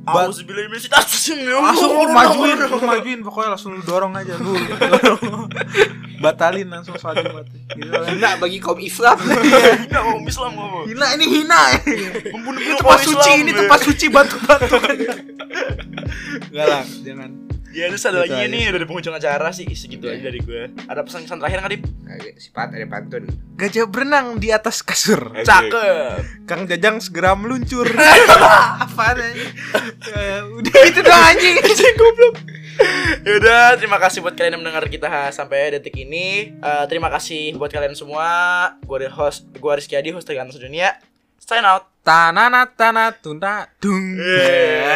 Speaker 2: Ba-
Speaker 3: Aku sebilang ini sih tasing ya.
Speaker 2: langsung lu
Speaker 3: Corona,
Speaker 2: majuin
Speaker 3: corona.
Speaker 2: lu majuin pokoknya langsung lu dorong aja lu dorong. batalin langsung sholat Jumat gitu lah.
Speaker 1: Enggak bagi kaum Islam.
Speaker 3: Enggak mau Islam ngomong.
Speaker 2: Hina ini hina
Speaker 3: Membunuh
Speaker 2: Ini tempat suci, ini tempat suci batu-batu Enggak lah, jangan
Speaker 3: Ya terus ada
Speaker 2: Gitu
Speaker 3: lagi
Speaker 2: aja
Speaker 3: nih udah di penghujung acara sih segitu
Speaker 1: Iya.
Speaker 3: aja dari gue. Ada pesan-pesan terakhir nggak Dip?
Speaker 1: Ada Sifat ada pantun.
Speaker 2: Gajah berenang di atas kasur.
Speaker 3: Cakep.
Speaker 2: Kang Jajang segera meluncur. Apa Eh, Udah itu doang anjing. goblok.
Speaker 3: Yaudah, Ya terima kasih buat kalian yang mendengar kita sampai detik ini. Eh, terima kasih buat kalian semua. Gue ada host, gue Rizky Adi, host tergantung sedunia. Sign out.
Speaker 2: Tanana tanah tunda dung.